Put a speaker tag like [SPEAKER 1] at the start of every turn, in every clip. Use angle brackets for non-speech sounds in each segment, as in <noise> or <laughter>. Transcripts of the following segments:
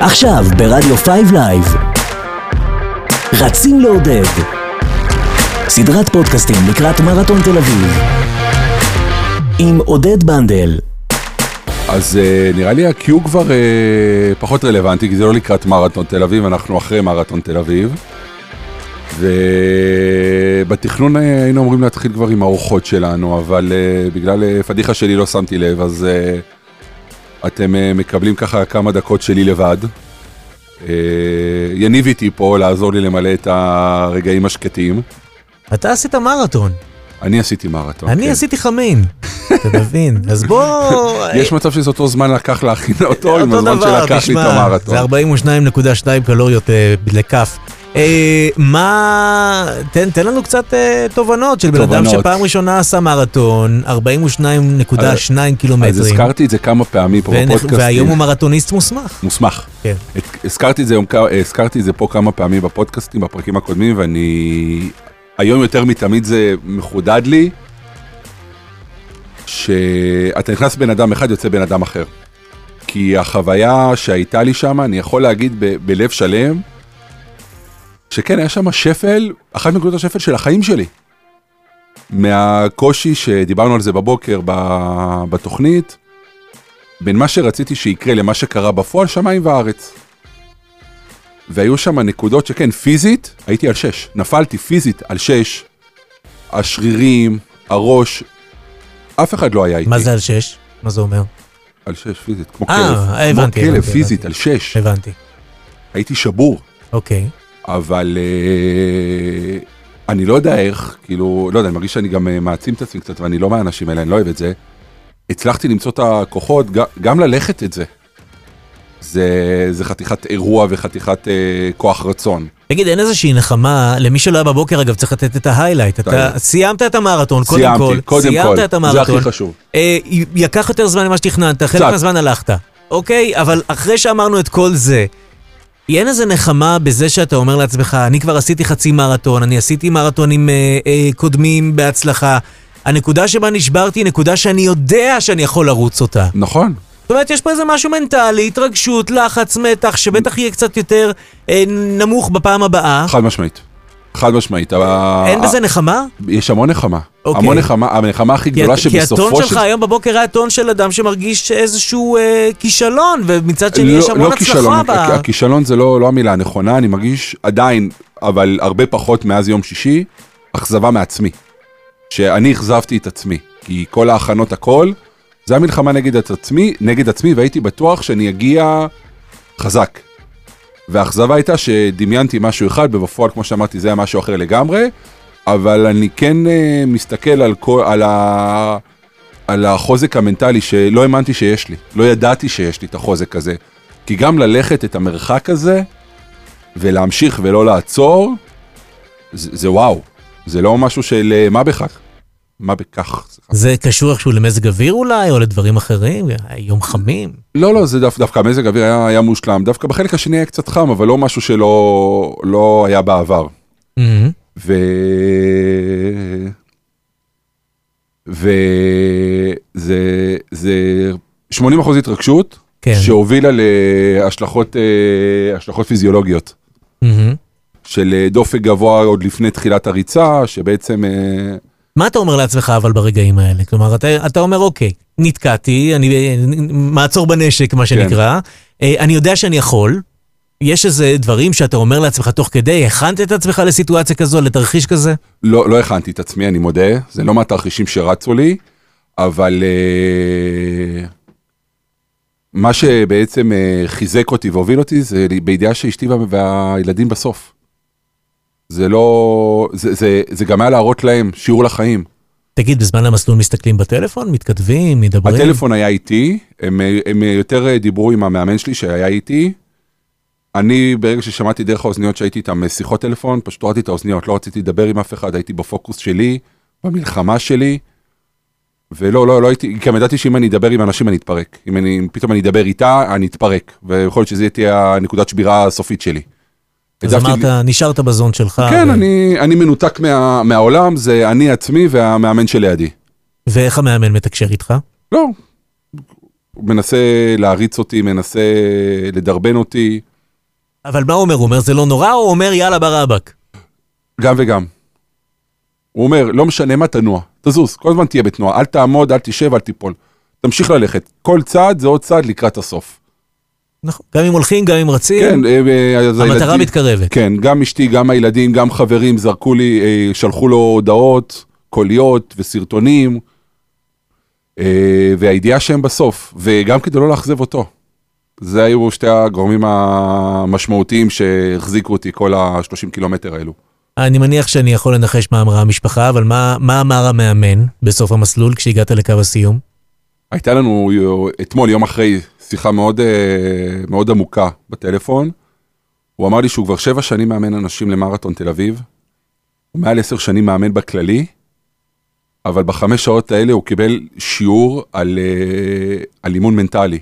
[SPEAKER 1] עכשיו ברדיו 5 לייב. רצים לעודד. סדרת פודקאסטים לקראת מרתון תל אביב. עם עודד בנדל.
[SPEAKER 2] אז uh, נראה לי ה-Q כבר uh, פחות רלוונטי, כי זה לא לקראת מרתון תל אביב, אנחנו אחרי מרתון תל אביב. ובתכנון uh, היינו אמורים להתחיל כבר עם האורחות שלנו, אבל uh, בגלל uh, פדיחה שלי לא שמתי לב, אז uh, אתם uh, מקבלים ככה כמה דקות שלי לבד. Uh, יניב איתי פה לעזור לי למלא את הרגעים השקטים.
[SPEAKER 3] אתה עשית מרתון,
[SPEAKER 2] אני עשיתי מרתון.
[SPEAKER 3] אני
[SPEAKER 2] כן.
[SPEAKER 3] עשיתי חמין, אתה מבין?
[SPEAKER 2] <laughs>
[SPEAKER 3] אז בוא... אה,
[SPEAKER 2] יש מצב שזה אותו זמן לקח להכין אותו, עם
[SPEAKER 3] אותו
[SPEAKER 2] הזמן
[SPEAKER 3] דבר,
[SPEAKER 2] שלקח לי את
[SPEAKER 3] תשמע,
[SPEAKER 2] המרתון.
[SPEAKER 3] זה 42.2 קלוריות אה, לכף. אה, מה... תן תן לנו קצת אה, תובנות של בן אדם
[SPEAKER 2] תובנות.
[SPEAKER 3] שפעם ראשונה עשה מרתון, 42.2
[SPEAKER 2] אה, אז
[SPEAKER 3] קילומטרים,
[SPEAKER 2] הזכרתי את זה כמה פעמים פה
[SPEAKER 3] ואין-
[SPEAKER 2] בפודקאסט.
[SPEAKER 3] והיום הוא מרתוניסט מוסמך.
[SPEAKER 2] מוסמך.
[SPEAKER 3] כן.
[SPEAKER 2] את- הזכרתי את זה היום כ- הזכרתי את זה פה כמה פעמים בפודקאסטים, בפרקים הקודמים, ואני... היום יותר מתמיד זה מחודד לי, שאתה נכנס בן אדם אחד, יוצא בן אדם אחר. כי החוויה שהייתה לי שם, אני יכול להגיד ב- בלב שלם, שכן, היה שם שפל, אחת מנקודות השפל של החיים שלי. מהקושי שדיברנו על זה בבוקר ב- בתוכנית, בין מה שרציתי שיקרה למה שקרה בפועל, שמיים וארץ. והיו שם נקודות שכן, פיזית, הייתי על שש. נפלתי פיזית על שש. השרירים, הראש, אף אחד לא היה איתי.
[SPEAKER 3] כן. מה זה על 6? מה זה אומר?
[SPEAKER 2] על שש, פיזית, כמו
[SPEAKER 3] אה,
[SPEAKER 2] כלב.
[SPEAKER 3] הבנתי,
[SPEAKER 2] כמו כלב,
[SPEAKER 3] הבנתי,
[SPEAKER 2] פיזית,
[SPEAKER 3] הבנתי.
[SPEAKER 2] על שש.
[SPEAKER 3] הבנתי.
[SPEAKER 2] הייתי שבור,
[SPEAKER 3] אוקיי.
[SPEAKER 2] אבל אה, אני לא יודע איך, כאילו, לא יודע, אני מרגיש שאני גם אה, מעצים את עצמי קצת, ואני לא מהאנשים האלה, אני לא אוהב את זה. הצלחתי למצוא את הכוחות, ג- גם ללכת את זה. זה, זה חתיכת אירוע וחתיכת אה, כוח רצון.
[SPEAKER 3] תגיד, אין איזושהי נחמה, למי שלא היה בבוקר, אגב, צריך לתת את ההיילייט. אתה
[SPEAKER 2] די.
[SPEAKER 3] סיימת את המרתון, קודם
[SPEAKER 2] סיימתי,
[SPEAKER 3] כל.
[SPEAKER 2] קודם
[SPEAKER 3] סיימת
[SPEAKER 2] כל.
[SPEAKER 3] את המרתון.
[SPEAKER 2] זה הכי חשוב.
[SPEAKER 3] אה, י- לקח יותר זמן ממה שתכננת, חלק
[SPEAKER 2] קצת.
[SPEAKER 3] מהזמן הלכת. אוקיי, אבל אחרי שאמרנו את כל זה, אין איזה נחמה בזה שאתה אומר לעצמך, אני כבר עשיתי חצי מרתון, אני עשיתי מרתונים אה, אה, קודמים בהצלחה. הנקודה שבה נשברתי היא נקודה שאני יודע שאני יכול לרוץ אותה.
[SPEAKER 2] נכון,
[SPEAKER 3] זאת אומרת, יש פה איזה משהו מנטלי, התרגשות, לחץ, מתח, שבטח יהיה קצת יותר אה, נמוך בפעם הבאה.
[SPEAKER 2] חד משמעית. חד משמעית. אה,
[SPEAKER 3] אין בזה נחמה?
[SPEAKER 2] יש המון נחמה.
[SPEAKER 3] אוקיי.
[SPEAKER 2] המון נחמה, הנחמה הכי
[SPEAKER 3] כי,
[SPEAKER 2] גדולה
[SPEAKER 3] הט- כי
[SPEAKER 2] שבסופו
[SPEAKER 3] הטון
[SPEAKER 2] של...
[SPEAKER 3] שלך היום בבוקר היה טון של אדם שמרגיש איזשהו אה, כישלון, ומצד שני יש המון הצלחה ב...
[SPEAKER 2] לא, הכ- הכישלון זה לא, לא המילה הנכונה, אני מרגיש עדיין, אבל הרבה פחות מאז יום שישי, אכזבה מעצמי. שאני אכזבתי את עצמי, כי כל ההכנות, הכל, זה המלחמה נגד את עצמי, נגד עצמי, והייתי בטוח שאני אגיע חזק. והאכזבה הייתה שדמיינתי משהו אחד, ובפועל, כמו שאמרתי, זה היה משהו אחר לגמרי, אבל אני כן אה, מסתכל על, כל, על, ה, על החוזק המנטלי שלא האמנתי שיש לי, לא ידעתי שיש לי את החוזק הזה. כי גם ללכת את המרחק הזה, ולהמשיך ולא לעצור, זה, זה וואו. זה לא משהו של אה, מה בכך. מה בכך, סליחה.
[SPEAKER 3] זה קשור איכשהו למזג אוויר אולי, או לדברים אחרים, יום חמים.
[SPEAKER 2] לא, לא, זה דו, דווקא מזג האוויר היה, היה מושלם. דווקא בחלק השני היה קצת חם, אבל לא משהו שלא לא היה בעבר. ו... וזה זה 80 אחוז התרגשות,
[SPEAKER 3] כן.
[SPEAKER 2] שהובילה להשלכות אה, השלכות פיזיולוגיות.
[SPEAKER 3] מהמם.
[SPEAKER 2] של אה, דופק גבוה עוד לפני תחילת הריצה, שבעצם... אה,
[SPEAKER 3] מה אתה אומר לעצמך אבל ברגעים האלה? כלומר, אתה, אתה אומר, אוקיי, נתקעתי, אני אה, מעצור בנשק,
[SPEAKER 2] כן.
[SPEAKER 3] מה שנקרא, אה, אני יודע שאני יכול. יש איזה דברים שאתה אומר לעצמך תוך כדי, הכנת את עצמך לסיטואציה כזו, לתרחיש כזה?
[SPEAKER 2] לא, לא הכנתי את עצמי, אני מודה, זה לא מהתרחישים שרצו לי, אבל אה, מה שבעצם אה, חיזק אותי והוביל אותי זה בידיעה שאשתי וה- והילדים בסוף. זה לא... זה, זה, זה גם היה להראות להם שיעור לחיים.
[SPEAKER 3] תגיד, בזמן המסלול מסתכלים בטלפון? מתכתבים? מדברים?
[SPEAKER 2] הטלפון היה איתי, הם, הם יותר אה, דיברו עם המאמן שלי שהיה איתי. אני, ברגע ששמעתי דרך האוזניות שהייתי איתם אה, שיחות טלפון, פשוט הורדתי את האוזניות, לא רציתי לדבר עם אף אחד, הייתי בפוקוס שלי, במלחמה שלי. ולא, לא, לא הייתי, גם ידעתי שאם אני אדבר עם אנשים אני אתפרק. אם אני, אם פתאום אני אדבר איתה, אני אתפרק. ויכול להיות שזו תהיה הנקודת שבירה הסופית שלי.
[SPEAKER 3] אז
[SPEAKER 2] העדפתי-
[SPEAKER 3] אמרת, נשארת בזון שלך.
[SPEAKER 2] כן,
[SPEAKER 3] ו-
[SPEAKER 2] אני, אני מנותק מה, מהעולם, זה אני עצמי והמאמן שלידי.
[SPEAKER 3] ואיך המאמן מתקשר איתך?
[SPEAKER 2] לא. הוא מנסה להריץ אותי, מנסה לדרבן אותי,
[SPEAKER 3] אבל מה הוא אומר? הוא אומר זה לא נורא, או הוא אומר יאללה ברבק?
[SPEAKER 2] גם וגם. הוא אומר, לא משנה מה, תנוע, תזוז, כל הזמן תהיה בתנועה, אל תעמוד, אל תשב, אל תיפול. תמשיך ללכת. כל צעד זה עוד צעד לקראת הסוף.
[SPEAKER 3] נכון. גם אם הולכים, גם אם רצים,
[SPEAKER 2] כן, אה, אה, אז
[SPEAKER 3] המטרה
[SPEAKER 2] הילדים-
[SPEAKER 3] מתקרבת.
[SPEAKER 2] כן, גם אשתי, גם הילדים, גם חברים זרקו לי, אה, שלחו לו הודעות, קוליות וסרטונים, אה, והידיעה שהם בסוף, וגם כדי לא לאכזב אותו. זה היו שתי הגורמים המשמעותיים שהחזיקו אותי כל ה-30 קילומטר האלו.
[SPEAKER 3] אני מניח שאני יכול לנחש מה אמרה המשפחה, אבל מה, מה אמר המאמן בסוף המסלול כשהגעת לקו הסיום?
[SPEAKER 2] הייתה לנו יו- אתמול, יום אחרי, שיחה מאוד, אה, מאוד עמוקה בטלפון. הוא אמר לי שהוא כבר שבע שנים מאמן אנשים למרתון תל אביב. הוא מעל עשר שנים מאמן בכללי, אבל בחמש שעות האלה הוא קיבל שיעור על, אה, על אימון מנטלי.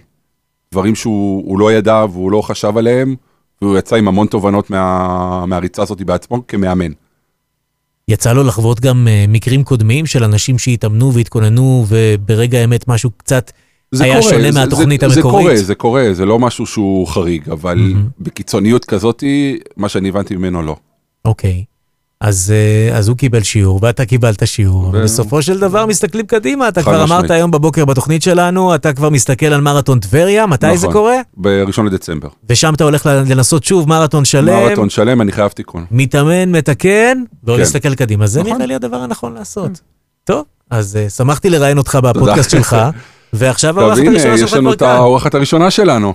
[SPEAKER 2] דברים שהוא הוא לא ידע והוא לא חשב עליהם, והוא יצא עם המון תובנות מה, מהריצה הזאת בעצמו כמאמן.
[SPEAKER 3] יצא לו לחוות גם אה, מקרים קודמים של אנשים שהתאמנו והתכוננו, וברגע האמת משהו קצת היה שונה מהתוכנית
[SPEAKER 2] זה, זה
[SPEAKER 3] המקורית?
[SPEAKER 2] קורה, זה קורה, זה לא משהו שהוא חריג, אבל mm-hmm. בקיצוניות כזאתי, מה שאני הבנתי ממנו לא.
[SPEAKER 3] אוקיי. אז, אה, אז הוא קיבל שיעור, ואתה קיבלת שיעור. ו... בסופו של דבר מסתכלים קדימה, אתה
[SPEAKER 2] חד
[SPEAKER 3] כבר אמרת
[SPEAKER 2] משמעית.
[SPEAKER 3] היום בבוקר בתוכנית שלנו, אתה כבר מסתכל על מרתון טבריה, מתי זה
[SPEAKER 2] נכון.
[SPEAKER 3] קורה?
[SPEAKER 2] בראשון לדצמבר.
[SPEAKER 3] ושם אתה הולך ל- לנסות שוב מרתון שלם,
[SPEAKER 2] מרתון שלם, אני חייב תיקון.
[SPEAKER 3] מתאמן, מתקן,
[SPEAKER 2] כן.
[SPEAKER 3] ועוד
[SPEAKER 2] Mm.
[SPEAKER 3] להסתכל קדימה. זה נראה לי הדבר הנכון לעשות. טוב, אז אה, שמחתי לראיין אותך בפודקאסט
[SPEAKER 2] תודה. <laughs>
[SPEAKER 3] שלך, ועכשיו
[SPEAKER 2] טוב,
[SPEAKER 3] האורחת
[SPEAKER 2] הנה,
[SPEAKER 3] הראשונה
[SPEAKER 2] יש
[SPEAKER 3] שופט
[SPEAKER 2] לנו את
[SPEAKER 3] ברקן.
[SPEAKER 2] האורחת הראשונה
[SPEAKER 4] אה.
[SPEAKER 2] שלנו.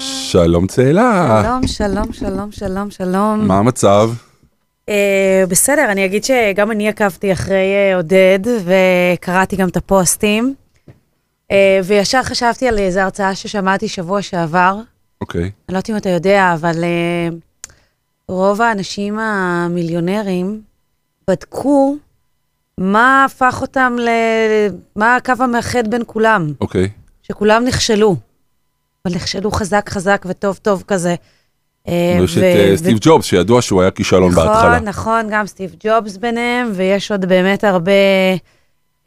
[SPEAKER 2] שלום צאלה,
[SPEAKER 4] שלום, שלום, שלום, שלום, שלום.
[SPEAKER 2] אה. מה המצב?
[SPEAKER 4] אה, בסדר, אני אגיד שגם אני עקבתי אחרי אה, עודד, וקראתי גם את הפוסטים, אה, וישר חשבתי על איזו הרצאה ששמעתי שבוע שעבר.
[SPEAKER 2] אוקיי,
[SPEAKER 4] אני לא יודעת אם אתה יודע, אבל אה, רוב האנשים המיליונרים בדקו מה הפך אותם ל... מה הקו המאחד בין כולם.
[SPEAKER 2] אוקיי.
[SPEAKER 4] שכולם נכשלו, אבל נכשלו חזק חזק וטוב טוב כזה. אה,
[SPEAKER 2] יש
[SPEAKER 4] ו-
[SPEAKER 2] את אה,
[SPEAKER 4] ו-
[SPEAKER 2] סטיב ג'ובס, שידוע שהוא היה כישלון בהתחלה.
[SPEAKER 4] נכון, נכון, גם סטיב ג'ובס ביניהם, ויש עוד באמת הרבה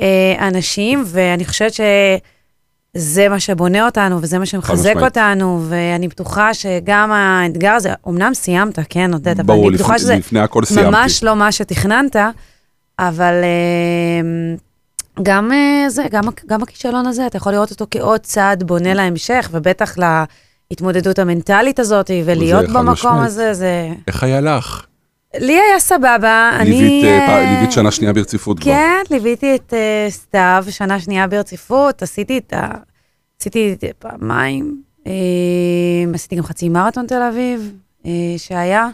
[SPEAKER 4] אה, אנשים, ואני חושבת שזה מה שבונה אותנו, וזה מה שמחזק
[SPEAKER 2] משמעית.
[SPEAKER 4] אותנו, ואני בטוחה שגם האתגר הזה, אמנם סיימת, כן, עודד, אבל
[SPEAKER 2] ברור,
[SPEAKER 4] אני בטוחה
[SPEAKER 2] לפני-
[SPEAKER 4] שזה
[SPEAKER 2] לפני הכל סיימתי.
[SPEAKER 4] ממש לא מה שתכננת, אבל אה, גם אה, זה, גם, הכ- גם הכישלון הזה, אתה יכול לראות אותו כעוד צעד בונה להמשך, ובטח להתמודדות המנטלית הזאת, ולהיות
[SPEAKER 2] חד
[SPEAKER 4] במקום
[SPEAKER 2] משמעית.
[SPEAKER 4] הזה, זה...
[SPEAKER 2] איך היה לך?
[SPEAKER 4] לי היה סבבה, אני...
[SPEAKER 2] ליווית, אה,
[SPEAKER 4] אה,
[SPEAKER 2] פע- ליווית שנה שנייה ברציפות כבר.
[SPEAKER 4] כן, ליוויתי את אה, סתיו שנה שנייה ברציפות, עשיתי את ה... עשיתי את זה פעמיים, אה, עשיתי גם חצי מרתון תל אביב, אה, שהיה.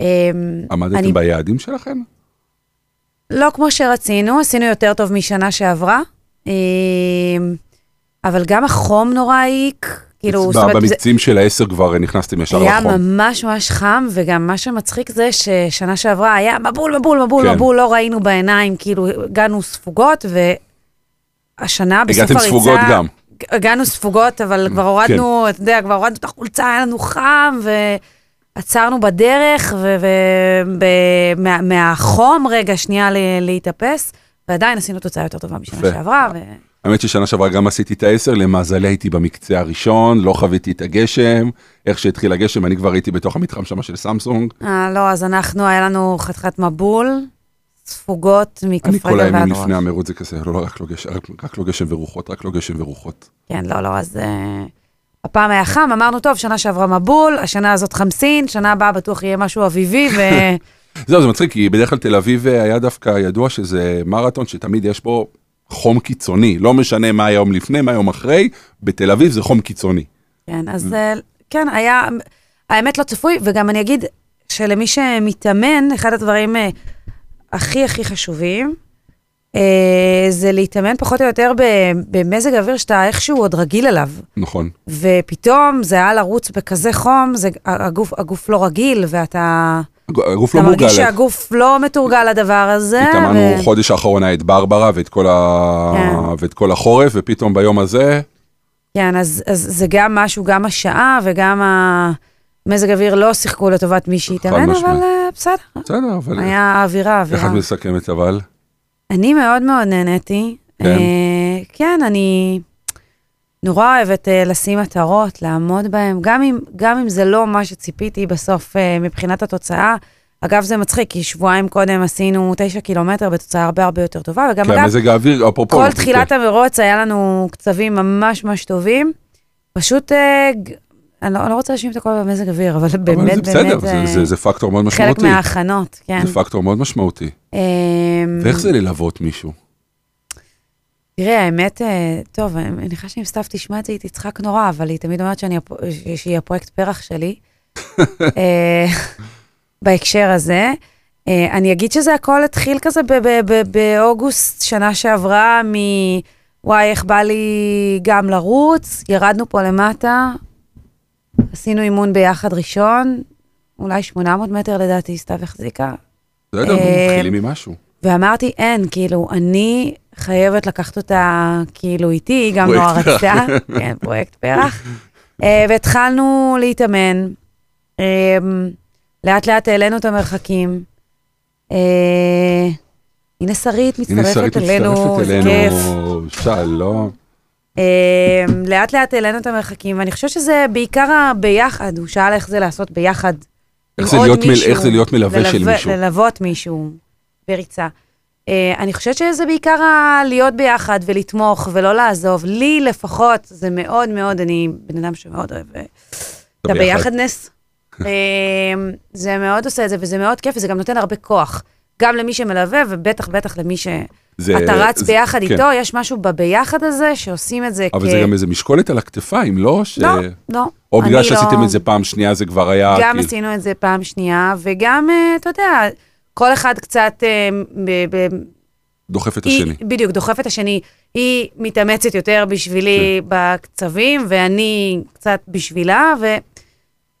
[SPEAKER 4] אה, אני-
[SPEAKER 2] עמדתם ביעדים שלכם?
[SPEAKER 4] לא כמו שרצינו, עשינו יותר טוב משנה שעברה, אה, אבל גם החום נורא העיק, כאילו,
[SPEAKER 2] ב- במבצעים של העשר כבר אה, נכנסתם ישר
[SPEAKER 4] היה
[SPEAKER 2] לחום.
[SPEAKER 4] ממש ממש חם, וגם מה שמצחיק זה ששנה שעברה היה מבול, מבול, מבול,
[SPEAKER 2] כן.
[SPEAKER 4] מבול, לא ראינו בעיניים, כאילו הגענו ספוגות, והשנה בסוף
[SPEAKER 2] הגעתם
[SPEAKER 4] הריצה...
[SPEAKER 2] ספוגות גם. כן.
[SPEAKER 4] הגענו ספוגות, אבל כבר הורדנו, אתה יודע, כבר הורדנו את החולצה, היה לנו חם, ועצרנו בדרך, ומהחום רגע שנייה ל- להתאפס, ועדיין עשינו תוצאה יותר טובה משנה
[SPEAKER 2] יפה.
[SPEAKER 4] שעברה. ו-
[SPEAKER 2] האמת ששנה שעברה גם עשיתי את העשר, למזלי הייתי במקצה הראשון, לא חוויתי את הגשם, איך שהתחיל הגשם אני כבר הייתי בתוך המתחם שם של סמסונג,
[SPEAKER 4] אה, לא, אז אנחנו, היה לנו חתיכת מבול, ספוגות
[SPEAKER 2] אני
[SPEAKER 4] מכף
[SPEAKER 2] כל
[SPEAKER 4] רגל ועד
[SPEAKER 2] הימים לפני
[SPEAKER 4] ראש.
[SPEAKER 2] המרוץ זה כזה, לא, לא, רק לא גשם, רק- רק לא גשם ורוחות, רק לא גשם ורוחות.
[SPEAKER 4] כן, לא, לא, אז... אה, הפעם היה חם, אמרנו, טוב, שנה שעברה מבול, השנה הזאת חמסין, שנה הבאה בטוח יהיה משהו אביבי, ו...
[SPEAKER 2] <laughs> זהו, זה מצחיק, כי בדרך כלל תל אביב אה, היה דווקא ידוע שזה מרתון שתמיד יש בו חום קיצוני, לא משנה מה היום לפני, מה היום אחרי, בתל אביב זה חום קיצוני.
[SPEAKER 4] כן, אז
[SPEAKER 2] Mm.
[SPEAKER 4] אה, כן, היה, האמת לא צפוי, וגם אני אגיד שלמי שמתאמן, אחד הדברים אה, הכי הכי חשובים, אה, זה להתאמן פחות או יותר ב- במזג אוויר שאתה איכשהו עוד רגיל אליו.
[SPEAKER 2] נכון,
[SPEAKER 4] ופתאום זה היה לרוץ בכזה חום, זה, הגוף, הגוף לא רגיל, ואתה
[SPEAKER 2] הג- הגוף
[SPEAKER 4] אתה
[SPEAKER 2] לא מורגל.
[SPEAKER 4] מרגיש שהגוף לא מתורגל לדבר הזה.
[SPEAKER 2] התאמנו חודש האחרון היה את ברברה ואת כל, ה...
[SPEAKER 4] כן.
[SPEAKER 2] ואת כל החורף, ופתאום ביום הזה,
[SPEAKER 4] כן, אז, אז זה גם משהו, גם השעה וגם המזג אוויר לא שיחקו לטובת מי שהתאמן, אבל
[SPEAKER 2] משמעית.
[SPEAKER 4] אה, בסדר,
[SPEAKER 2] בסדר, אבל
[SPEAKER 4] היה אווירה,
[SPEAKER 2] איך
[SPEAKER 4] אווירה.
[SPEAKER 2] את מסכמת אבל?
[SPEAKER 4] אני מאוד מאוד נהניתי. אה,
[SPEAKER 2] כן.
[SPEAKER 4] אה, כן, אני נורא אוהבת אה, לשים מטרות, לעמוד בהן, גם אם, גם אם זה לא מה שציפיתי בסוף אה, מבחינת התוצאה. אגב, זה מצחיק, כי שבועיים קודם עשינו תשע קילומטר בתוצאה הרבה הרבה יותר טובה, וגם
[SPEAKER 2] כן,
[SPEAKER 4] אגב,
[SPEAKER 2] מזג האוויר, אפרופו. כן.
[SPEAKER 4] כל תחילת המרוץ היה לנו קצבים ממש ממש טובים. פשוט, אה, ג- אני לא אני לא רוצה להאשים את הכל במזג אוויר, אבל
[SPEAKER 2] אבל
[SPEAKER 4] באמת,
[SPEAKER 2] זה בסדר,
[SPEAKER 4] באמת,
[SPEAKER 2] זה-
[SPEAKER 4] אה,
[SPEAKER 2] זה- זה פקטור מאוד
[SPEAKER 4] חלק
[SPEAKER 2] משמעותי.
[SPEAKER 4] מההכנות, כן.
[SPEAKER 2] זה פקטור מאוד משמעותי.
[SPEAKER 4] אמ,
[SPEAKER 2] ואיך זה ללוות מישהו?
[SPEAKER 4] תראה, האמת, אה, טוב, אני מניחה שאם סתיו תשמע את זה, היא תצחק נורא, אבל היא תמיד אומרת שאני הפ- ש- שהיא הפרויקט פרח שלי. אה, בהקשר הזה, אה, אני אגיד שזה הכל התחיל כזה ב- ב- ב- באוגוסט שנה שעברה, מ... וואי, איך בא לי גם לרוץ, ירדנו פה למטה, עשינו אימון ביחד ראשון, אולי 800 מטר לדעתי, סתיו החזיקה,
[SPEAKER 2] בסדר,
[SPEAKER 4] אה,
[SPEAKER 2] מתחילים ממשהו.
[SPEAKER 4] ואמרתי, אין, כאילו, אני חייבת לקחת אותה, כאילו, איתי, היא גם נורא
[SPEAKER 2] פרויקט פרח.
[SPEAKER 4] רצתה, <laughs> כן, פרויקט פרח. אה, והתחלנו להתאמן, אה, לאט לאט העלינו את המרחקים. אה, הנה שרית
[SPEAKER 2] הנה שרית
[SPEAKER 4] מצטרפת אלינו,
[SPEAKER 2] מצטרפת
[SPEAKER 4] זה
[SPEAKER 2] אלינו.
[SPEAKER 4] כיף.
[SPEAKER 2] שלום.
[SPEAKER 4] אה, לאט לאט העלינו את המרחקים, ואני חושבת שזה בעיקר הביחד, הוא שאל איך זה לעשות ביחד.
[SPEAKER 2] איך
[SPEAKER 4] עם
[SPEAKER 2] זה
[SPEAKER 4] עוד
[SPEAKER 2] להיות מל-
[SPEAKER 4] מישהו,
[SPEAKER 2] איך זה להיות מלווה של
[SPEAKER 4] ללווה-
[SPEAKER 2] מישהו.
[SPEAKER 4] ללוות מישהו בריצה. אה, אני חושבת שזה בעיקר ה- להיות ביחד ולתמוך ולא לעזוב. לי לפחות, זה מאוד מאוד, אני בן אדם שמאוד אוהב אה, את
[SPEAKER 2] ביחד. <laughs>
[SPEAKER 4] הביחדנס. אה, זה מאוד עושה את זה, וזה מאוד כיף, וזה גם נותן הרבה כוח. גם למי שמלווה, ובטח בטח למי
[SPEAKER 2] זה-
[SPEAKER 4] שאתה רץ
[SPEAKER 2] זה-
[SPEAKER 4] ביחד
[SPEAKER 2] כן.
[SPEAKER 4] איתו, יש משהו בביחד הזה שעושים את זה כ...
[SPEAKER 2] אבל זה גם איזה משקולת על הכתפיים, לא? ש-
[SPEAKER 4] לא, לא.
[SPEAKER 2] או
[SPEAKER 4] אני
[SPEAKER 2] בגלל
[SPEAKER 4] לא-
[SPEAKER 2] שעשיתם את זה פעם שנייה, זה כבר היה...
[SPEAKER 4] גם
[SPEAKER 2] כאילו-
[SPEAKER 4] עשינו את זה פעם שנייה, וגם, אה, אתה יודע, כל אחד קצת, אה, ב- ב-
[SPEAKER 2] דוחף את
[SPEAKER 4] היא,
[SPEAKER 2] השני.
[SPEAKER 4] בדיוק, דוחף את השני. היא מתאמצת יותר בשבילי
[SPEAKER 2] כן.
[SPEAKER 4] בקצבים, ואני קצת בשבילה, ו...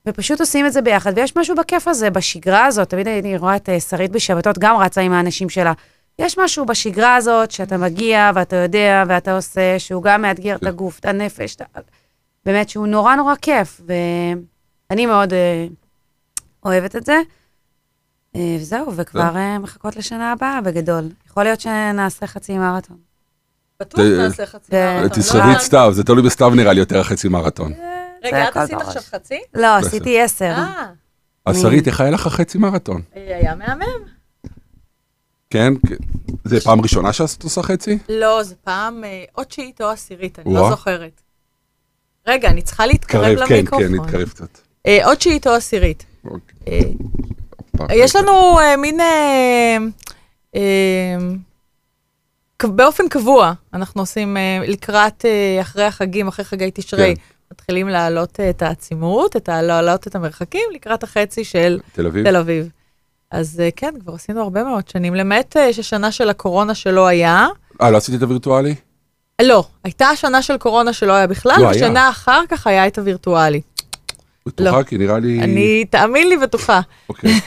[SPEAKER 4] ופשוט עושים את זה ביחד. ויש משהו בכיף הזה, בשגרה הזאת, תמיד אני רואה את אה, שרית בשבתות גם רצה עם האנשים שלה. יש משהו בשגרה הזאת, שאתה מגיע ואתה יודע ואתה עושה, שהוא גם מאתגר
[SPEAKER 2] כן.
[SPEAKER 4] את הגוף, את הנפש, את... ה- באמת שהוא נורא נורא כיף, ואני מאוד אה, אוהבת את זה. אה, וזהו,
[SPEAKER 2] כן.
[SPEAKER 4] וכבר אה, מחכות לשנה הבאה בגדול. יכול להיות שנעשה חצי מרתון.
[SPEAKER 5] בטוח
[SPEAKER 2] זה-
[SPEAKER 5] נעשה חצי
[SPEAKER 4] זה-
[SPEAKER 5] מרתון. לא?
[SPEAKER 2] תשרדי את סתיו, זה תלוי בסתיו נראה לי יותר החצי מרתון.
[SPEAKER 4] זה
[SPEAKER 5] רגע, את
[SPEAKER 4] הכל
[SPEAKER 5] עשית
[SPEAKER 4] בראש.
[SPEAKER 5] עכשיו חצי?
[SPEAKER 4] לא, עשיתי עשר.
[SPEAKER 5] אה,
[SPEAKER 2] אז שרית, איך היה לך החצי מרתון?
[SPEAKER 5] היה מהמם.
[SPEAKER 2] כן? זה פעם ראשונה שאת עושה חצי?
[SPEAKER 5] לא, זה פעם אה, או תשיעית או עשירית, אני
[SPEAKER 2] וואה.
[SPEAKER 5] לא זוכרת. רגע, אני צריכה להתקרב
[SPEAKER 2] קרב, כן, כן,
[SPEAKER 5] למיקרופון.
[SPEAKER 2] נתקרב קצת.
[SPEAKER 5] אה, או תשיעית או עשירית.
[SPEAKER 2] אוקיי.
[SPEAKER 5] אה, יש לנו אה, מין... אה, אה, ק- באופן קבוע, אנחנו עושים אה, לקראת, אה, אחרי החגים, אחרי חגי תשרי,
[SPEAKER 2] כן.
[SPEAKER 5] מתחילים להעלות אה, את העצימות, את ה- להעלות את המרחקים, לקראת החצי של
[SPEAKER 2] תל אביב?
[SPEAKER 5] תל אביב. אז אה, כן, כבר עשינו הרבה מאוד שנים, למעט אה, ששנה של הקורונה שלא היה.
[SPEAKER 2] אה, לא עשית את הווירטואלי?
[SPEAKER 5] לא, הייתה שנה של קורונה שלא היה בכלל,
[SPEAKER 2] לא היה.
[SPEAKER 5] ושנה אחר כך היה את הווירטואלי.
[SPEAKER 2] בטוחה, כי נראה לי...
[SPEAKER 5] אני, תאמין לי, בטוחה.
[SPEAKER 2] אוקיי.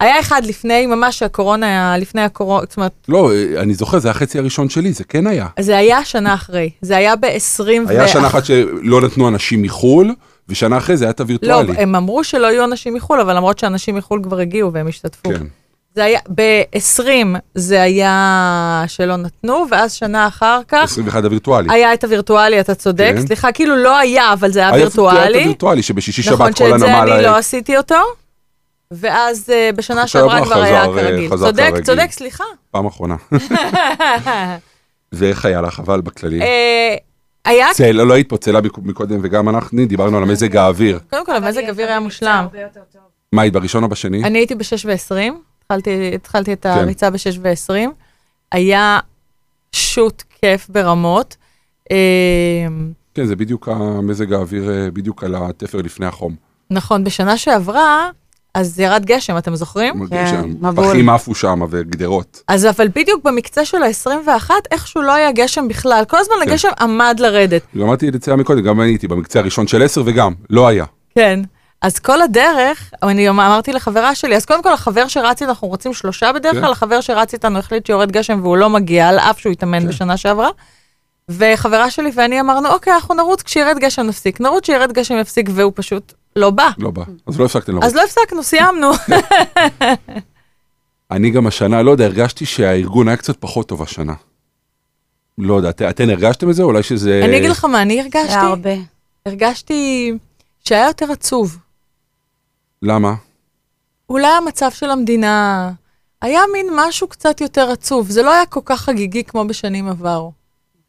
[SPEAKER 5] היה אחד לפני, ממש הקורונה, לפני הקורונה, זאת אומרת,
[SPEAKER 2] לא, אה, אני זוכר, זה החצי הראשון שלי, זה כן היה.
[SPEAKER 5] זה היה שנה אחרי, זה היה ב-20
[SPEAKER 2] היה שנה אחת שלא נתנו אנשים מחו"ל, ושנה אחרי זה היה את
[SPEAKER 5] לא,
[SPEAKER 2] הווירטואלי.
[SPEAKER 5] הם אמרו שלא יהיו אנשים מחו"ל, אבל למרות שאנשים מחו"ל כבר הגיעו והם השתתפו.
[SPEAKER 2] כן.
[SPEAKER 5] זה היה, ב-20 זה היה שלא נתנו, ואז שנה אחר כך
[SPEAKER 2] 21 הווירטואלי.
[SPEAKER 5] אה, היה את הווירטואלי, אתה צודק,
[SPEAKER 2] כן.
[SPEAKER 5] סליחה, כאילו לא היה, אבל זה היה
[SPEAKER 2] היה היה את
[SPEAKER 5] וירטואלי.
[SPEAKER 2] הווירטואלי, שבשישי
[SPEAKER 5] נכון
[SPEAKER 2] שבת כל
[SPEAKER 5] שאת זה
[SPEAKER 2] הנמל...
[SPEAKER 5] אני לא
[SPEAKER 2] היה-
[SPEAKER 5] עשיתי אותו, ואז אה, בשנה
[SPEAKER 2] עכשיו
[SPEAKER 5] שעברה כבר
[SPEAKER 2] חזר,
[SPEAKER 5] היה
[SPEAKER 2] אה,
[SPEAKER 5] כרגיל.
[SPEAKER 2] חזר
[SPEAKER 5] צודק,
[SPEAKER 2] כרגיל.
[SPEAKER 5] צודק, סליחה.
[SPEAKER 2] פעם
[SPEAKER 5] <laughs>
[SPEAKER 2] אחרונה. ואיך היה לך, אבל בכללי?
[SPEAKER 5] אה, היה,
[SPEAKER 2] צל, לא היית פה צלה מק- מקודם, וגם אנחנו דיברנו על מזג האוויר.
[SPEAKER 5] קודם כל המזג אוויר היה מושלם.
[SPEAKER 2] מה, היית בראשון או בשני?
[SPEAKER 5] אני הייתי ב-6 ו-20, התחלתי, התחלתי
[SPEAKER 2] כן.
[SPEAKER 5] את הריצה ב-6 ו-20. היה שוט כיף ברמות. אה,
[SPEAKER 2] כן, זה בדיוק המזג האוויר, אה, בדיוק על התפר לפני החום.
[SPEAKER 5] נכון, בשנה שעברה, אז ירד גשם, אתם זוכרים?
[SPEAKER 2] מרגיש
[SPEAKER 4] כן, מבול.
[SPEAKER 2] שהפחים עפו שם וגדרות.
[SPEAKER 5] אז אבל בדיוק במקצה של ה-21, איכשהו לא היה גשם בכלל. כל הזמן הגשם עמד לרדת.
[SPEAKER 2] גם לא אמרתי לצלה מקודם, גם אני הייתי במקצה הראשון של 10 וגם, לא היה.
[SPEAKER 5] כן. אז כל הדרך, אני אמרתי לחברה שלי, אז קודם כל החבר שרץ איתנו, אנחנו רוצים שלושה בדרך
[SPEAKER 2] כן.
[SPEAKER 5] כלל, החבר שרץ איתנו החליט שיורד גשם והוא לא מגיע, על אף שהוא התאמן בשנה שעברה. וחברה שלי ואני אמרנו, אוקיי, אנחנו נרוץ כשירד גשם נפסיק. נרוץ כשירד גשם יפסיק, והוא פשוט לא בא.
[SPEAKER 2] לא בא. אז לא הפסקתם לרוץ.
[SPEAKER 5] אז לא הפסקנו, סיימנו.
[SPEAKER 2] אני גם השנה, לא יודע, הרגשתי שהארגון היה קצת פחות טוב השנה. לא יודע, את- אתן הרגשתם את זה? אולי שזה...
[SPEAKER 5] אני אגיד לך מה, אני
[SPEAKER 4] היה
[SPEAKER 5] הרגשתי,
[SPEAKER 4] הרבה.
[SPEAKER 5] הרגשתי שהיה יותר עצוב.
[SPEAKER 2] למה?
[SPEAKER 5] אולי המצב של המדינה היה מין משהו קצת יותר עצוב. זה לא היה כל כך חגיגי כמו בשנים עברו.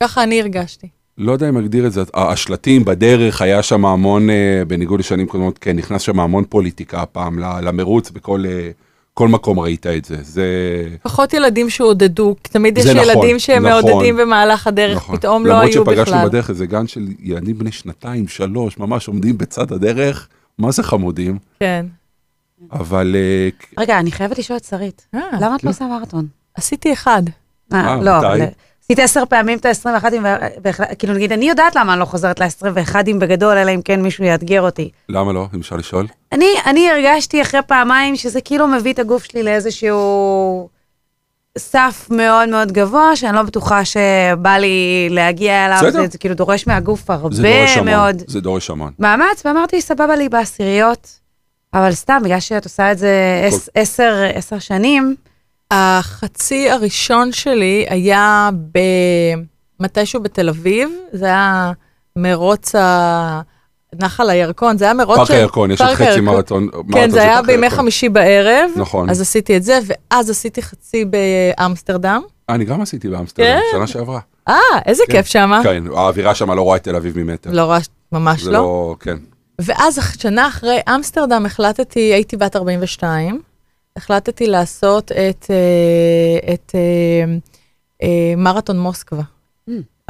[SPEAKER 5] ככה אני הרגשתי.
[SPEAKER 2] לא יודע אם אגדיר את זה, ה- השלטים בדרך, היה שם המון, אה, בניגוד לשנים קודמות, כן, נכנס שם המון פוליטיקה הפעם ל- למרוץ, בכל אה, כל מקום ראית את זה. זה...
[SPEAKER 5] פחות ילדים שעודדו, כי תמיד יש
[SPEAKER 2] זה נכון,
[SPEAKER 5] ילדים שהם
[SPEAKER 2] נכון.
[SPEAKER 5] מעודדים במהלך הדרך, פתאום לא
[SPEAKER 2] למרות
[SPEAKER 5] היו
[SPEAKER 2] שפגשנו
[SPEAKER 5] בכלל.
[SPEAKER 2] בדרך איזה גן של ילדים בני שנתיים, שלוש, ממש עומדים בצד הדרך, מה זה חמודים,
[SPEAKER 5] כן.
[SPEAKER 2] אבל אה,
[SPEAKER 4] רגע, אני חייבת לשאול את שרית,
[SPEAKER 5] אה,
[SPEAKER 4] למה את לא עושה מרתון?
[SPEAKER 5] עשיתי אחד.
[SPEAKER 4] אה,
[SPEAKER 2] אה,
[SPEAKER 4] לא,
[SPEAKER 2] מתי?
[SPEAKER 4] אבל עשית עשר פעמים את ה-21, כאילו נגיד, אני יודעת למה אני לא חוזרת ל-21 בגדול, אלא אם כן מישהו יאתגר אותי.
[SPEAKER 2] למה לא, אם אפשר לשאול?
[SPEAKER 4] אני, אני הרגשתי אחרי פעמיים שזה כאילו מביא את הגוף שלי לאיזשהו סף מאוד מאוד גבוה, שאני לא בטוחה שבא לי להגיע אליו,
[SPEAKER 2] בסדר.
[SPEAKER 4] זה, זה כאילו דורש מהגוף
[SPEAKER 2] זה דורש
[SPEAKER 4] הרבה
[SPEAKER 2] המון,
[SPEAKER 4] מאוד
[SPEAKER 2] זה דורש המון.
[SPEAKER 4] מאמץ, ואמרתי, סבבה לי בעשיריות, אבל סתם, בגלל שאת עושה את זה עש, עשר, עשר שנים,
[SPEAKER 5] החצי הראשון שלי היה ב... מתישהו בתל אביב, זה היה מרוץ ה... נחל הירקון, זה היה מרוץ
[SPEAKER 2] פארק הירקון, יש עוד
[SPEAKER 5] פארק
[SPEAKER 2] חצי
[SPEAKER 5] הירקון.
[SPEAKER 2] מרתון.
[SPEAKER 5] כן,
[SPEAKER 2] מרתון
[SPEAKER 5] זה היה
[SPEAKER 2] פארק
[SPEAKER 5] בימי
[SPEAKER 2] הירקון.
[SPEAKER 5] חמישי בערב.
[SPEAKER 2] נכון.
[SPEAKER 5] אז עשיתי את זה, ואז עשיתי חצי באמסטרדם.
[SPEAKER 2] אה, אני גם עשיתי באמסטרדם,
[SPEAKER 5] כן.
[SPEAKER 2] שנה שעברה.
[SPEAKER 5] אה, איזה
[SPEAKER 2] כן.
[SPEAKER 5] כיף שמה.
[SPEAKER 2] כן, האווירה שם לא רואה את תל אביב ממטר.
[SPEAKER 5] לא רעש, ממש
[SPEAKER 2] זה
[SPEAKER 5] לא.
[SPEAKER 2] לא, כן.
[SPEAKER 5] ואז אח- שנה אחרי אמסטרדם החלטתי, הייתי בת 42, החלטתי לעשות את, אה, את אה, אה, מרתון מוסקבה.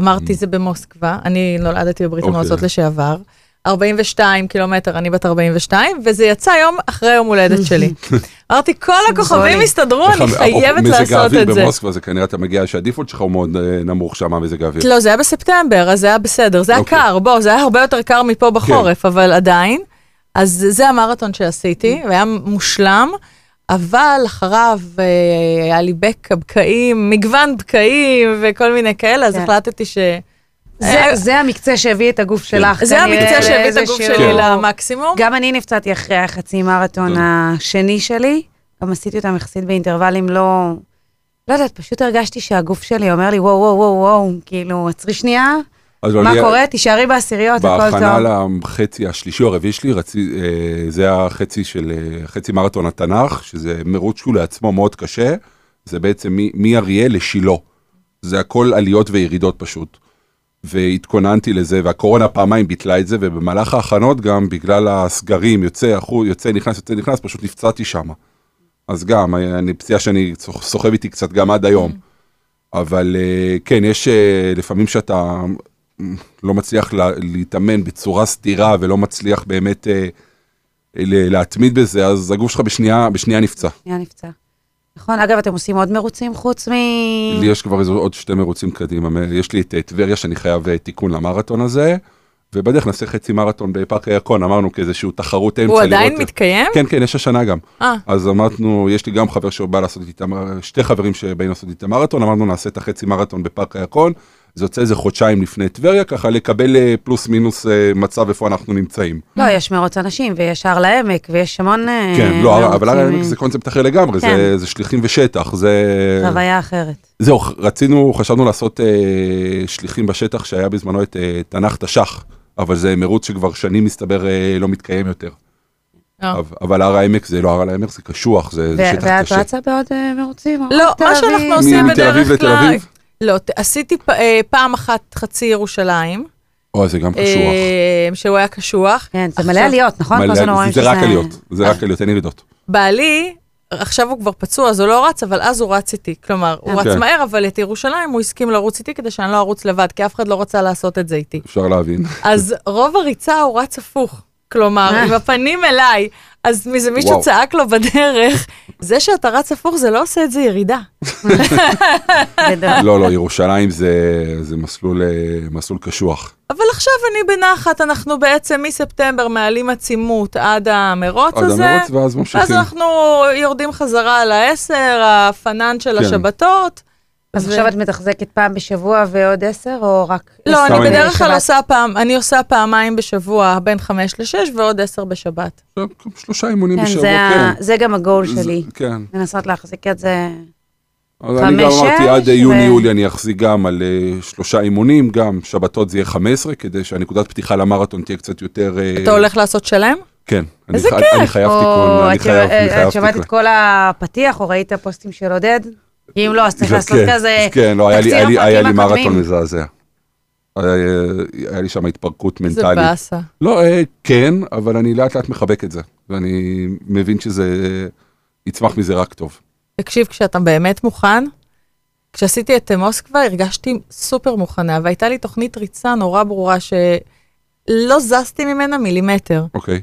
[SPEAKER 5] אמרתי, זה במוסקבה, אני נולדתי בברית
[SPEAKER 2] Mm. אוקיי.
[SPEAKER 5] המועצות לשעבר. 42 קילומטר, אני בת 42, וזה יצא יום אחרי יום הולדת שלי. אמרתי, כל הכוכבים הסתדרו, אני
[SPEAKER 2] בכלל,
[SPEAKER 5] חייבת
[SPEAKER 2] מזג
[SPEAKER 5] לעשות
[SPEAKER 2] האוויר
[SPEAKER 5] את זה.
[SPEAKER 2] במוסקבה זה כנראה אתה מגיע שהדיפולט שלך הוא מאוד אה, נמוך שם מזג האוויר.
[SPEAKER 5] לא, זה היה בספטמבר, אז זה היה בסדר. זה היה
[SPEAKER 2] אוקיי. כן.
[SPEAKER 5] קר, בוא, זה היה הרבה יותר קר מפה בחורף, אבל עדיין. אז זה המרתון שעשיתי,
[SPEAKER 2] Mm.
[SPEAKER 5] והיה מושלם, אבל אחריו אה, היה לי בק הבקעים, מגוון בקעים וכל מיני כאלה, אז
[SPEAKER 4] כן.
[SPEAKER 5] החלטתי ש...
[SPEAKER 4] זה,
[SPEAKER 5] אה,
[SPEAKER 4] זה המקצה שהביא את
[SPEAKER 2] כן.
[SPEAKER 4] הגוף שלך.
[SPEAKER 5] זה
[SPEAKER 4] כנראה
[SPEAKER 5] המקצוע שהביא את הגוף
[SPEAKER 4] לאיזשהו-
[SPEAKER 5] שלי למקסימום.
[SPEAKER 4] גם אני נפצעתי אחרי החצי מרתון
[SPEAKER 2] טוב.
[SPEAKER 4] השני שלי, גם עשיתי אותם יחסית באינטרוולים לא... לא יודעת, פשוט הרגשתי שהגוף שלי אומר לי, וואו, וואו, וואו, וואו, כאילו, עצרי שנייה,
[SPEAKER 2] אז
[SPEAKER 4] מה
[SPEAKER 2] אני-
[SPEAKER 4] קורה? תישארי בעשיריות, הכל
[SPEAKER 2] לא, בהכנה
[SPEAKER 4] טוב.
[SPEAKER 2] לחצי השלישי או הרביעי שלי, רצי, אה, זה החצי של, אה, חצי מרתון התנ"ך, שזה מרוץ שהוא לעצמו מאוד קשה, זה בעצם מ- מאריה לשילה. זה הכל עליות וירידות פשוט. והתכוננתי לזה, והקורונה פעמיים ביטלה את זה, ובמהלך ההכנות גם, בגלל הסגרים, יוצא, אחו, יוצא, נכנס, יוצא, נכנס, פשוט נפצעתי שם. אז גם, אה, אני פציעה שאני סוח- סוחב איתי קצת גם עד היום. אבל אה, כן, יש אה, לפעמים שאתה לא מצליח לה, להתאמן בצורה סדירה ולא מצליח באמת אה, ל- להתמיד בזה, אז הגוף שלך בשנייה, בשנייה נפצע.
[SPEAKER 5] Mm.
[SPEAKER 4] שנייה נפצע. נכון, אגב, אתם עושים עוד מרוצים חוץ מ...
[SPEAKER 2] לי יש כבר איזה עוד שתי מרוצים קדימה, מ- יש לי את אה, טבריה שאני חייב אה, תיקון למרתון הזה, ובדרך נעשה חצי מרתון בפארק הירקון, אמרנו כאיזשהו תחרות אמצע.
[SPEAKER 5] הוא עדיין
[SPEAKER 2] לראות-
[SPEAKER 5] מתקיים?
[SPEAKER 2] כן, כן, יש השנה גם.
[SPEAKER 5] אה,
[SPEAKER 2] אז אמרנו, יש לי גם חבר שבא לעשות איתה, מר- שתי חברים שבאים לעשות איתה מרתון, אמרנו נעשה את החצי מרתון בפארק הירקון, זה יוצא איזה חודשיים לפני טבריה, ככה לקבל אה, פלוס מינוס אה, מצב איפה אנחנו נמצאים.
[SPEAKER 4] לא, יש מרוץ אנשים, ויש הר לעמק, ויש המון... אה,
[SPEAKER 2] כן, לא, אבל
[SPEAKER 4] מרוצים,
[SPEAKER 2] הר העמק זה קונספט אחר לגמרי,
[SPEAKER 4] כן.
[SPEAKER 2] זה- זה שליחים ושטח, זה...
[SPEAKER 4] אה, חוויה אחרת.
[SPEAKER 2] זהו, רצינו, חשבנו לעשות אה, שליחים בשטח שהיה בזמנו את אה, תנ"ך תש"ח, אבל זה מרוץ שכבר שנים מסתבר אה, לא מתקיים יותר.
[SPEAKER 5] אה.
[SPEAKER 2] אבל- אבל הר העמק זה לא הר העמק, זה קשוח, זה זה
[SPEAKER 4] ו-
[SPEAKER 2] שטח
[SPEAKER 4] ואת
[SPEAKER 2] קשה.
[SPEAKER 4] רצה בעוד אה, מרוצים? או
[SPEAKER 5] לא,
[SPEAKER 4] תל
[SPEAKER 5] מה
[SPEAKER 4] אביב?
[SPEAKER 5] שאנחנו
[SPEAKER 2] מ-
[SPEAKER 5] עושים
[SPEAKER 2] מתל אביב
[SPEAKER 5] בדרך
[SPEAKER 2] לתל
[SPEAKER 5] כלל...
[SPEAKER 2] אביב?
[SPEAKER 5] לא, ת- עשיתי פ- אה, פעם אחת חצי ירושלים,
[SPEAKER 2] אוי, זה גם קשוח.
[SPEAKER 5] אה, שהוא היה קשוח.
[SPEAKER 4] כן, זה מלא
[SPEAKER 5] עכשיו-
[SPEAKER 4] עליות, נכון?
[SPEAKER 2] מלא-
[SPEAKER 4] כל הזמן אומרים
[SPEAKER 2] זה רק
[SPEAKER 4] שזה-
[SPEAKER 2] עליות, זה רק עליות, אין ירידות.
[SPEAKER 5] בעלי, עכשיו הוא כבר פצוע, אז הוא לא רץ, אבל אז הוא רץ איתי. כלומר, הוא רץ
[SPEAKER 2] אוקיי.
[SPEAKER 5] מהר, אבל את ירושלים הוא הסכים לרוץ איתי כדי שאני לא ארוץ לבד, כי אף אחד לא רצה לעשות את זה איתי.
[SPEAKER 2] אפשר
[SPEAKER 4] <laughs>
[SPEAKER 2] להבין.
[SPEAKER 5] אז רוב הריצה הוא רץ הפוך. כלומר, עם הפנים אליי. אז מזה מישהו
[SPEAKER 2] אה. וואו.
[SPEAKER 5] צעק לו בדרך, זה שאתה רץ הפוך זה לא עושה את זה ירידה. <laughs>
[SPEAKER 4] גדול.
[SPEAKER 2] לא, לא, ירושלים זה- זה מסלול, אה, מסלול קשוח.
[SPEAKER 5] אבל עכשיו אני בנחת, אנחנו בעצם מספטמבר מעלים עצימות עד המרוץ
[SPEAKER 2] עד
[SPEAKER 5] הזה.
[SPEAKER 2] המרוץ ואז
[SPEAKER 5] ואז
[SPEAKER 2] ממשיכים.
[SPEAKER 5] אנחנו יורדים חזרה על העשר, הפנן של
[SPEAKER 2] כן.
[SPEAKER 5] השבתות.
[SPEAKER 4] אז
[SPEAKER 5] ו-
[SPEAKER 4] עכשיו את מתחזקת פעם בשבוע ועוד עשר, או רק...
[SPEAKER 5] לא,
[SPEAKER 2] סתם
[SPEAKER 5] אני
[SPEAKER 2] אני-
[SPEAKER 5] בדרך כלל
[SPEAKER 4] בשבת?
[SPEAKER 5] עושה פעם, אני עושה פעמיים בשבוע, בין חמש לשש ועוד עשר בשבת.
[SPEAKER 2] שלושה אימונים
[SPEAKER 4] כן,
[SPEAKER 2] בשבוע,
[SPEAKER 4] זה ה-
[SPEAKER 2] כן.
[SPEAKER 4] זה גם הגול
[SPEAKER 2] זה-
[SPEAKER 4] שלי,
[SPEAKER 2] כן.
[SPEAKER 4] לנסות להחזיק את זה.
[SPEAKER 2] אז אני גם
[SPEAKER 4] חמש,
[SPEAKER 2] אמרתי, עד
[SPEAKER 4] שש, ו-
[SPEAKER 2] יוני-יולי אני אחזיק גם על אה, שלושה אימונים, גם שבתות זה יהיה 15, כדי שהנקודת פתיחה למרתון תהיה קצת יותר... אה,
[SPEAKER 5] אתה הולך לעשות שלם?
[SPEAKER 2] כן. אני
[SPEAKER 4] איזה
[SPEAKER 2] חי-
[SPEAKER 4] כיף.
[SPEAKER 2] אני חייב
[SPEAKER 4] או,
[SPEAKER 2] תיקון, אני
[SPEAKER 4] את
[SPEAKER 2] חייב אני
[SPEAKER 4] אה,
[SPEAKER 2] חייב
[SPEAKER 4] את שמעת
[SPEAKER 2] תיקון.
[SPEAKER 4] את כל הפתיח, או ראית פוסטים של עודד? כי אם לא, אז צריך
[SPEAKER 2] זה-
[SPEAKER 4] לעשות
[SPEAKER 2] כן,
[SPEAKER 4] כזה...
[SPEAKER 2] כן, לא, היה לי-
[SPEAKER 4] תקציר
[SPEAKER 2] היה לי- היה לי
[SPEAKER 4] הפרקים
[SPEAKER 2] מרתון
[SPEAKER 4] הקודמים.
[SPEAKER 2] מזעזע. היה היה לי שם התפרקות
[SPEAKER 5] זה
[SPEAKER 2] מנטלית.
[SPEAKER 5] באסה.
[SPEAKER 2] לא, אה, כן, אבל אני לאט לאט מחבק את זה, ואני מבין שזה אה, יצמח מזה רק טוב.
[SPEAKER 5] תקשיב, כשאתה באמת מוכן, כשעשיתי את אה, מוסקבה הרגשתי סופר מוכנה, והייתה לי תוכנית ריצה נורא ברורה שלא זזתי ממנה מילימטר.
[SPEAKER 2] אוקיי,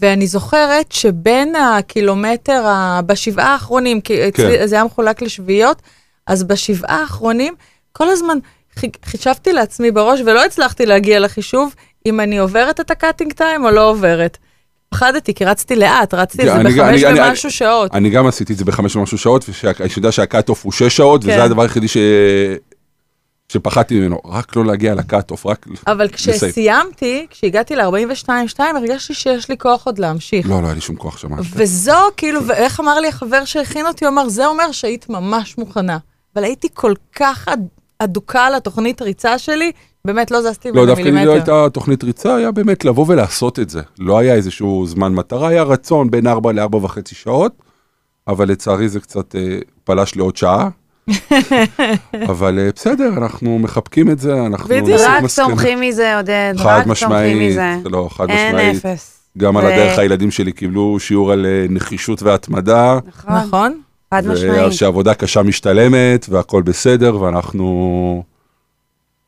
[SPEAKER 5] ואני זוכרת שבין הקילומטר, ה... בשבעה האחרונים, כי אצלי
[SPEAKER 2] כן.
[SPEAKER 5] זה היה מחולק לשביעיות, אז בשבעה האחרונים, כל הזמן חיק- חישבתי לעצמי בראש, ולא הצלחתי להגיע לחישוב אם אני עוברת את הקאטינג טיים או לא עוברת. פחדתי, כי רצתי לאט, רצתי את
[SPEAKER 2] כן,
[SPEAKER 5] זה
[SPEAKER 2] אני-
[SPEAKER 5] בחמש
[SPEAKER 2] אני- אני-
[SPEAKER 5] ומשהו שעות.
[SPEAKER 2] אני גם עשיתי את זה בחמש ומשהו שעות, ואני יודע שהקאט-אוף הוא שש שעות,
[SPEAKER 5] כן.
[SPEAKER 2] וזה הדבר היחידי ש... שפחדתי ממנו, רק לא להגיע לקאט-אוף, רק...
[SPEAKER 5] אבל
[SPEAKER 2] לסיים.
[SPEAKER 5] כשסיימתי, כשהגעתי ל-42-2, הרגשתי שיש לי כוח עוד להמשיך.
[SPEAKER 2] לא, לא היה לי שום כוח שם.
[SPEAKER 5] וזו, כאילו, ואיך אמר לי החבר שהכין אותי, הוא אמר, זה אומר שהיית ממש מוכנה. אבל הייתי כל כך אד- אדוקה על התוכנית ריצה שלי, באמת לא זזתי
[SPEAKER 2] לא,
[SPEAKER 5] ממנה
[SPEAKER 2] דווקא לי לא
[SPEAKER 5] מילימטר.
[SPEAKER 2] הייתה תוכנית ריצה, היה באמת לבוא ולעשות את זה. לא היה איזשהו זמן מטרה, היה רצון בין 4 ל-4 וחצי שעות, אבל לצערי זה קצת אה, פלש לעוד
[SPEAKER 5] <laughs>
[SPEAKER 2] שעה. אבל אה, בסדר, אנחנו מחבקים את זה, אנחנו
[SPEAKER 5] בדיוק.
[SPEAKER 2] נסיק
[SPEAKER 4] רק
[SPEAKER 2] מסקנות.
[SPEAKER 4] צומחים מזה, עודד,
[SPEAKER 2] חד
[SPEAKER 4] רק צומחים
[SPEAKER 2] משמעית,
[SPEAKER 4] מזה.
[SPEAKER 2] לא, חד
[SPEAKER 4] אין
[SPEAKER 2] משמעית.
[SPEAKER 4] אפס.
[SPEAKER 2] גם על
[SPEAKER 4] ו-
[SPEAKER 2] הדרך הילדים שלי קיבלו שיעור על אה, נחישות והתמדה,
[SPEAKER 4] נכון,
[SPEAKER 5] נכון?
[SPEAKER 4] חד משמעית.
[SPEAKER 2] ושעבודה קשה משתלמת, והכול בסדר, ואנחנו...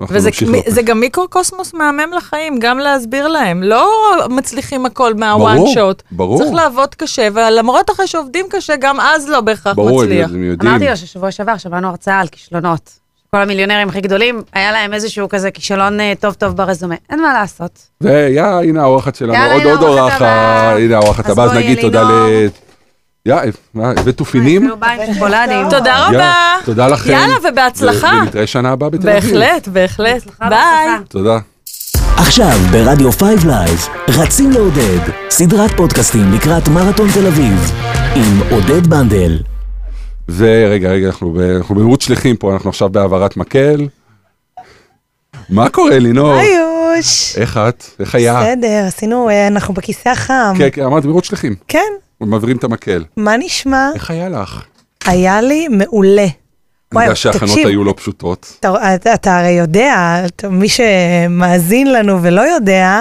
[SPEAKER 2] אנחנו
[SPEAKER 5] וזה
[SPEAKER 2] נמשיך
[SPEAKER 5] מ-
[SPEAKER 2] לפה.
[SPEAKER 5] זה גם מיקרוקוסמוס מהמם לחיים, גם להסביר להם. לא מצליחים הכל מהוואן
[SPEAKER 2] ברור,
[SPEAKER 5] שוט.
[SPEAKER 2] ברור.
[SPEAKER 5] צריך לעבוד קשה, ולמרות אחרי שעובדים קשה, גם אז לא בהכרח
[SPEAKER 2] ברור, הם
[SPEAKER 5] מצליח.
[SPEAKER 2] הם יודעים.
[SPEAKER 4] אמרתי לו ששבוע שעבר שמענו הרצאה על כישלונות. כל המיליונרים הכי גדולים, היה להם איזשהו כזה כישלון אה, טוב טוב ברזומה. אין מה לעשות.
[SPEAKER 2] ויא, הנה האורחת שלנו,
[SPEAKER 4] יאללה,
[SPEAKER 2] עוד
[SPEAKER 4] הנה
[SPEAKER 2] עוד
[SPEAKER 4] האורחת
[SPEAKER 2] אורחת,
[SPEAKER 4] הבאה.
[SPEAKER 2] הנה האורחת
[SPEAKER 4] אז
[SPEAKER 2] הבאה, אז
[SPEAKER 4] בואי, לא-
[SPEAKER 2] נגיד תודה ל...
[SPEAKER 4] אלינור.
[SPEAKER 2] יא, אה, מה, הבאת תופינים?
[SPEAKER 4] אפילו בא עם שוקולדים.
[SPEAKER 5] תודה
[SPEAKER 2] יא,
[SPEAKER 5] רבה.
[SPEAKER 2] תודה לכם.
[SPEAKER 5] יאללה, ובהצלחה.
[SPEAKER 2] ו- ונתראה שנה הבאה בתל אביב.
[SPEAKER 5] בהחלט, בהחלט. ביי.
[SPEAKER 2] תודה.
[SPEAKER 1] עכשיו ברדיו 5 לייב, רצים לעודד, סדרת פודקאסטים לקראת מרתון תל אביב, עם עודד בנדל.
[SPEAKER 2] ורגע, רגע, אנחנו ב- אנחנו במהירות שליחים פה, אנחנו עכשיו בהעברת מקל. מה קורה, לינור?
[SPEAKER 6] היוש.
[SPEAKER 2] איך את? איך היה?
[SPEAKER 6] בסדר, עשינו, אה, אנחנו בכיסא החם.
[SPEAKER 2] כן, כן, אמרת מהירות שליחים.
[SPEAKER 6] כן,
[SPEAKER 2] מעבירים את המקל.
[SPEAKER 6] מה נשמע?
[SPEAKER 2] איך היה לך?
[SPEAKER 6] היה לי מעולה.
[SPEAKER 2] אני
[SPEAKER 6] וואי,
[SPEAKER 2] יודע שההכנות
[SPEAKER 6] תקשיב.
[SPEAKER 2] היו לא פשוטות.
[SPEAKER 6] אתה, אתה, אתה הרי יודע, אתה- מי שמאזין לנו ולא יודע,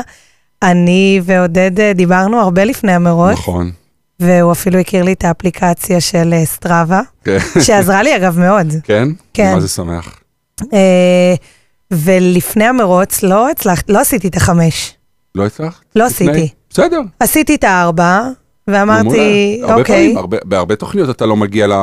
[SPEAKER 6] אני ועודד אה, דיברנו הרבה לפני המרוץ,
[SPEAKER 2] נכון.
[SPEAKER 6] והוא אפילו הכיר לי את האפליקציה של אה,
[SPEAKER 2] <laughs>
[SPEAKER 6] סטראבה,
[SPEAKER 2] כן?
[SPEAKER 6] שעזרה לי אגב מאוד.
[SPEAKER 2] כן?
[SPEAKER 6] כן.
[SPEAKER 2] מה זה שמח.
[SPEAKER 6] אה, ולפני המרוץ לא הצלחתי, לא עשיתי את החמש.
[SPEAKER 2] לא הצלחת?
[SPEAKER 6] לא
[SPEAKER 2] לפני?
[SPEAKER 6] עשיתי.
[SPEAKER 2] בסדר.
[SPEAKER 6] עשיתי את הארבע, ואמרתי,
[SPEAKER 2] מעולה. הרבה
[SPEAKER 6] אוקיי.
[SPEAKER 2] פעמים, הרבה, בהרבה תוכניות אתה לא מגיע ל,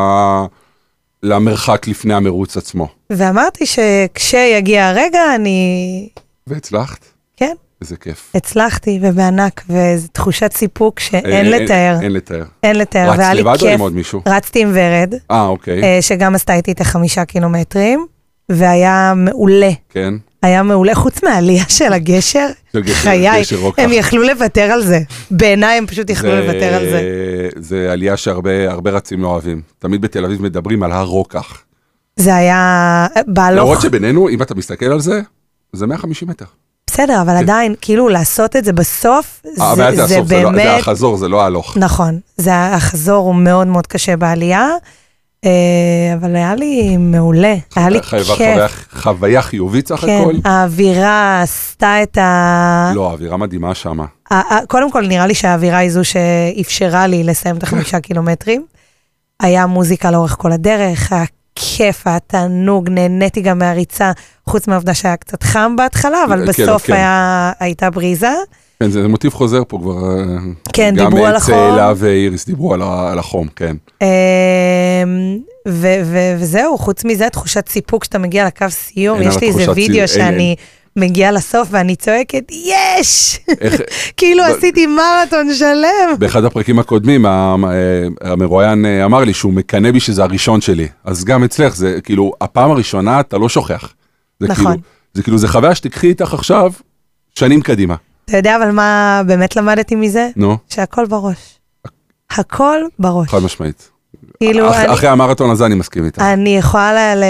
[SPEAKER 2] למרחק לפני המרוץ עצמו.
[SPEAKER 6] ואמרתי שכשיגיע הרגע אני,
[SPEAKER 2] והצלחת?
[SPEAKER 6] כן,
[SPEAKER 2] איזה כיף.
[SPEAKER 6] הצלחתי ובענק, וזו תחושת סיפוק שאין
[SPEAKER 2] אה,
[SPEAKER 6] לתאר,
[SPEAKER 2] אין לתאר.
[SPEAKER 6] אין לתאר,
[SPEAKER 2] רצת
[SPEAKER 6] והיה לי
[SPEAKER 2] לבד או
[SPEAKER 6] כיף.
[SPEAKER 2] עם עוד מישהו?
[SPEAKER 6] רצתי עם ורד,
[SPEAKER 2] אה, אוקיי,
[SPEAKER 6] אה, שגם עשתה איתי את החמישה קילומטרים, והיה מעולה,
[SPEAKER 2] כן.
[SPEAKER 6] היה מעולה, חוץ מהעלייה של הגשר,
[SPEAKER 2] של גשר-
[SPEAKER 6] חיי,
[SPEAKER 2] גשר רוקח.
[SPEAKER 6] הם יכלו לוותר על זה, בעיניי הם פשוט יכלו
[SPEAKER 2] זה-
[SPEAKER 6] לא לוותר על זה.
[SPEAKER 2] זה עלייה שהרבה הרבה רצים לא אוהבים. תמיד בתל אביב מדברים על הר רוקח.
[SPEAKER 6] זה היה אה,
[SPEAKER 2] למרות
[SPEAKER 6] בהלוך,
[SPEAKER 2] שבינינו, אם אתה מסתכל על זה, זה 150 מטר.
[SPEAKER 6] בסדר, אבל עדיין, כאילו לעשות את זה בסוף,
[SPEAKER 2] כן. אה,
[SPEAKER 6] זה-
[SPEAKER 2] אבל זה
[SPEAKER 6] זה
[SPEAKER 2] הסוף, זה לא- זה
[SPEAKER 6] באמת
[SPEAKER 2] החזור, זה לא ההלוך.
[SPEAKER 6] נכון, זה החזור הוא מאוד מאוד קשה בעלייה, אה, אבל היה לי מעולה, היה לי
[SPEAKER 2] חייבה- חוויה-
[SPEAKER 6] כיף.
[SPEAKER 2] חוויה חיובית סך הכל.
[SPEAKER 6] כן, אה. האווירה עשתה את ה...
[SPEAKER 2] לא, האווירה מדהימה שמה.
[SPEAKER 6] ה- ה- קודם כל, נראה לי שהאווירה היא זו שאפשרה לי לסיים
[SPEAKER 2] <laughs>
[SPEAKER 6] את החמישה קילומטרים. היה מוזיקה לאורך כל הדרך, היה כיף, היה תענוג, נהניתי גם מהריצה, חוץ מהעובדה שהיה קצת חם בהתחלה, אבל
[SPEAKER 2] כן,
[SPEAKER 6] בסוף
[SPEAKER 2] כן.
[SPEAKER 6] היה- הייתה בריזה.
[SPEAKER 2] כן, זה מוטיב חוזר פה כבר. אה,
[SPEAKER 6] כן, דיברו על
[SPEAKER 2] גם אה,
[SPEAKER 6] החום.
[SPEAKER 2] צאלה ואיריס דיברו על ה- על החום, כן.
[SPEAKER 6] אמ, ו- ו- וזהו, חוץ מזה, תחושת סיפוק שאתה מגיע לקו סיום,
[SPEAKER 2] אין
[SPEAKER 6] יש
[SPEAKER 2] אבל
[SPEAKER 6] לי איזה
[SPEAKER 2] תחושת
[SPEAKER 6] וידאו
[SPEAKER 2] סיום, אין,
[SPEAKER 6] שאני מגיעה לסוף ואני צועקת, יש!
[SPEAKER 2] איך-
[SPEAKER 6] <laughs> כאילו
[SPEAKER 2] ב-
[SPEAKER 6] עשיתי מרתון שלם.
[SPEAKER 2] באחד הפרקים הקודמים, ה- אה, המרואיין אה, אמר לי שהוא מקנא בי שזה הראשון שלי. אז גם אצלך, זה כאילו, הפעם הראשונה אתה לא שוכח. זה
[SPEAKER 6] נכון.
[SPEAKER 2] כאילו- זה כאילו, זה חוויה שתיקחי איתך עכשיו, שנים קדימה.
[SPEAKER 6] אתה יודע אבל מה באמת למדתי מזה?
[SPEAKER 2] נו,
[SPEAKER 6] שהכל בראש. הכל בראש.
[SPEAKER 2] חד משמעית.
[SPEAKER 6] כאילו,
[SPEAKER 2] אח-
[SPEAKER 6] אני-
[SPEAKER 2] אחרי המרתון הזה אני מסכים איתך.
[SPEAKER 6] אני יכולה ל...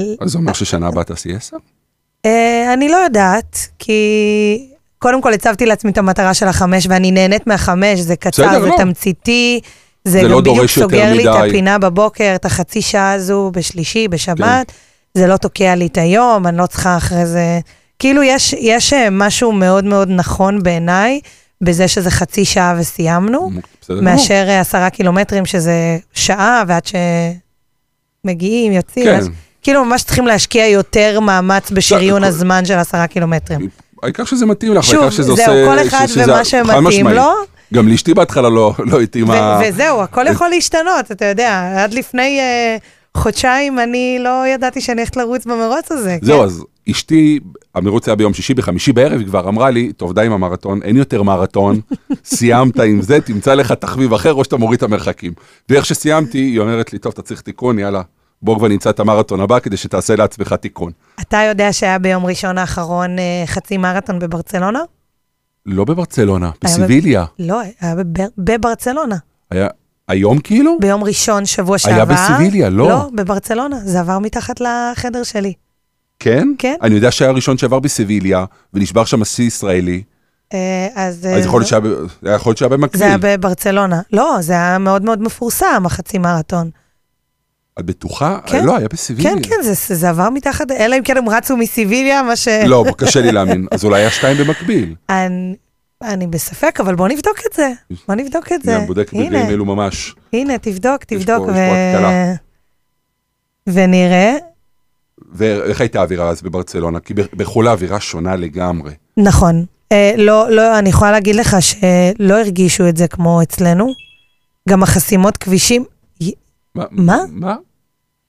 [SPEAKER 6] ל-
[SPEAKER 2] אז זה אומר ששנה הבאה תעשי עשר?
[SPEAKER 6] אה, אני לא יודעת, כי קודם כל הצבתי לעצמי את המטרה של החמש, ואני נהנית מהחמש, זה קצר,
[SPEAKER 2] בסדר,
[SPEAKER 6] זה
[SPEAKER 2] לא.
[SPEAKER 6] תמציתי, זה
[SPEAKER 2] זה לא
[SPEAKER 6] גם בדיוק
[SPEAKER 2] דורש יותר
[SPEAKER 6] סוגר לי את
[SPEAKER 2] מדי.
[SPEAKER 6] הפינה בבוקר, את החצי שעה הזו בשלישי, בשבת,
[SPEAKER 2] כן.
[SPEAKER 6] זה לא תוקע לי את היום, אני לא צריכה אחרי זה... כאילו, יש, יש אה, משהו מאוד מאוד נכון בעיניי, בזה שזה חצי שעה וסיימנו.
[SPEAKER 2] בסדר גמור.
[SPEAKER 6] מאשר אה, עשרה קילומטרים, שזה שעה, ועד שמגיעים, יוצאים.
[SPEAKER 2] כן.
[SPEAKER 6] אז כאילו ממש צריכים להשקיע יותר מאמץ בשריון
[SPEAKER 2] כל-
[SPEAKER 6] הזמן של עשרה קילומטרים.
[SPEAKER 2] העיקר שזה מתאים לך,
[SPEAKER 6] שוב,
[SPEAKER 2] העיקר שזה
[SPEAKER 6] זהו,
[SPEAKER 2] עושה...
[SPEAKER 6] כל אחד
[SPEAKER 2] שזה-
[SPEAKER 6] ומה
[SPEAKER 2] חד
[SPEAKER 6] שמתאים
[SPEAKER 2] משמעית.
[SPEAKER 6] לו.
[SPEAKER 2] גם לאשתי בהתחלה לא לא התאימה...
[SPEAKER 6] ו- וזהו, הכל
[SPEAKER 2] אה,
[SPEAKER 6] יכול להשתנות, אתה יודע. עד לפני אה, חודשיים אני לא ידעתי שאני הולכת לרוץ במרוץ הזה.
[SPEAKER 2] זהו,
[SPEAKER 6] כן?
[SPEAKER 2] אז אשתי, המרוץ היה ביום שישי, בחמישי בערב, היא כבר אמרה לי, טוב, די עם המרתון, אין יותר מרתון, <laughs> סיימת עם זה, תמצא לך תחביב אחר, או שאתה מוריד את המרחקים. ואיך שסיימתי, היא אומרת לי, טוב, אתה צריך תיקון, יאללה, בוא כבר נמצא את המרתון הבא, כדי שתעשה לעצמך תיקון.
[SPEAKER 6] אתה יודע שהיה ביום ראשון האחרון אה, חצי מרתון בברצלונה?
[SPEAKER 2] לא בברצלונה,
[SPEAKER 6] היה ב-
[SPEAKER 2] בסיביליה.
[SPEAKER 6] לא, היה בבר- בברצלונה.
[SPEAKER 2] היה היום כאילו?
[SPEAKER 6] ביום ראשון, שבוע שעבר.
[SPEAKER 2] היה בסיביליה, לא.
[SPEAKER 6] לא, בברצלונה. זה עבר מתחת לחדר שלי.
[SPEAKER 2] כן?
[SPEAKER 6] כן.
[SPEAKER 2] אני יודע שהיה הראשון שעבר בסיביליה, ונשבר שם השיא ישראלי,
[SPEAKER 6] אה, אז... אה,
[SPEAKER 2] אז יכול
[SPEAKER 6] לא-
[SPEAKER 2] להיות שהיה ב- היה יכול להיות שהיה
[SPEAKER 6] זה
[SPEAKER 2] במקביל.
[SPEAKER 6] היה בברצלונה. לא, זה היה מאוד מאוד מפורסם, החצי מרתון.
[SPEAKER 2] את בטוחה?
[SPEAKER 6] כן.
[SPEAKER 2] לא, היה בסיביליה.
[SPEAKER 6] כן, כן, זה- זה עבר מתחת, אלא אם כן הם רצו מסיביליה, מה ש...
[SPEAKER 2] לא, קשה לי להאמין. אז אולי היה שתיים במקביל.
[SPEAKER 6] אני- אני בספק, אבל בוא נבדוק את זה. בוא נבדוק את <laughs> זה.
[SPEAKER 2] אני בודק
[SPEAKER 6] הנה,
[SPEAKER 2] ברגעים אלו ממש.
[SPEAKER 6] הנה, תבדוק,
[SPEAKER 2] פה-
[SPEAKER 6] תבדוק.
[SPEAKER 2] יש
[SPEAKER 6] ו-
[SPEAKER 2] פה התקלה.
[SPEAKER 6] ונראה.
[SPEAKER 2] ואיך הייתה האווירה אז בברצלונה? כי ב- בחו"ל האווירה שונה לגמרי.
[SPEAKER 6] נכון. אה, לא, לא, אני יכולה להגיד לך שלא הרגישו את זה כמו אצלנו. גם החסימות כבישים, מה?
[SPEAKER 2] מה?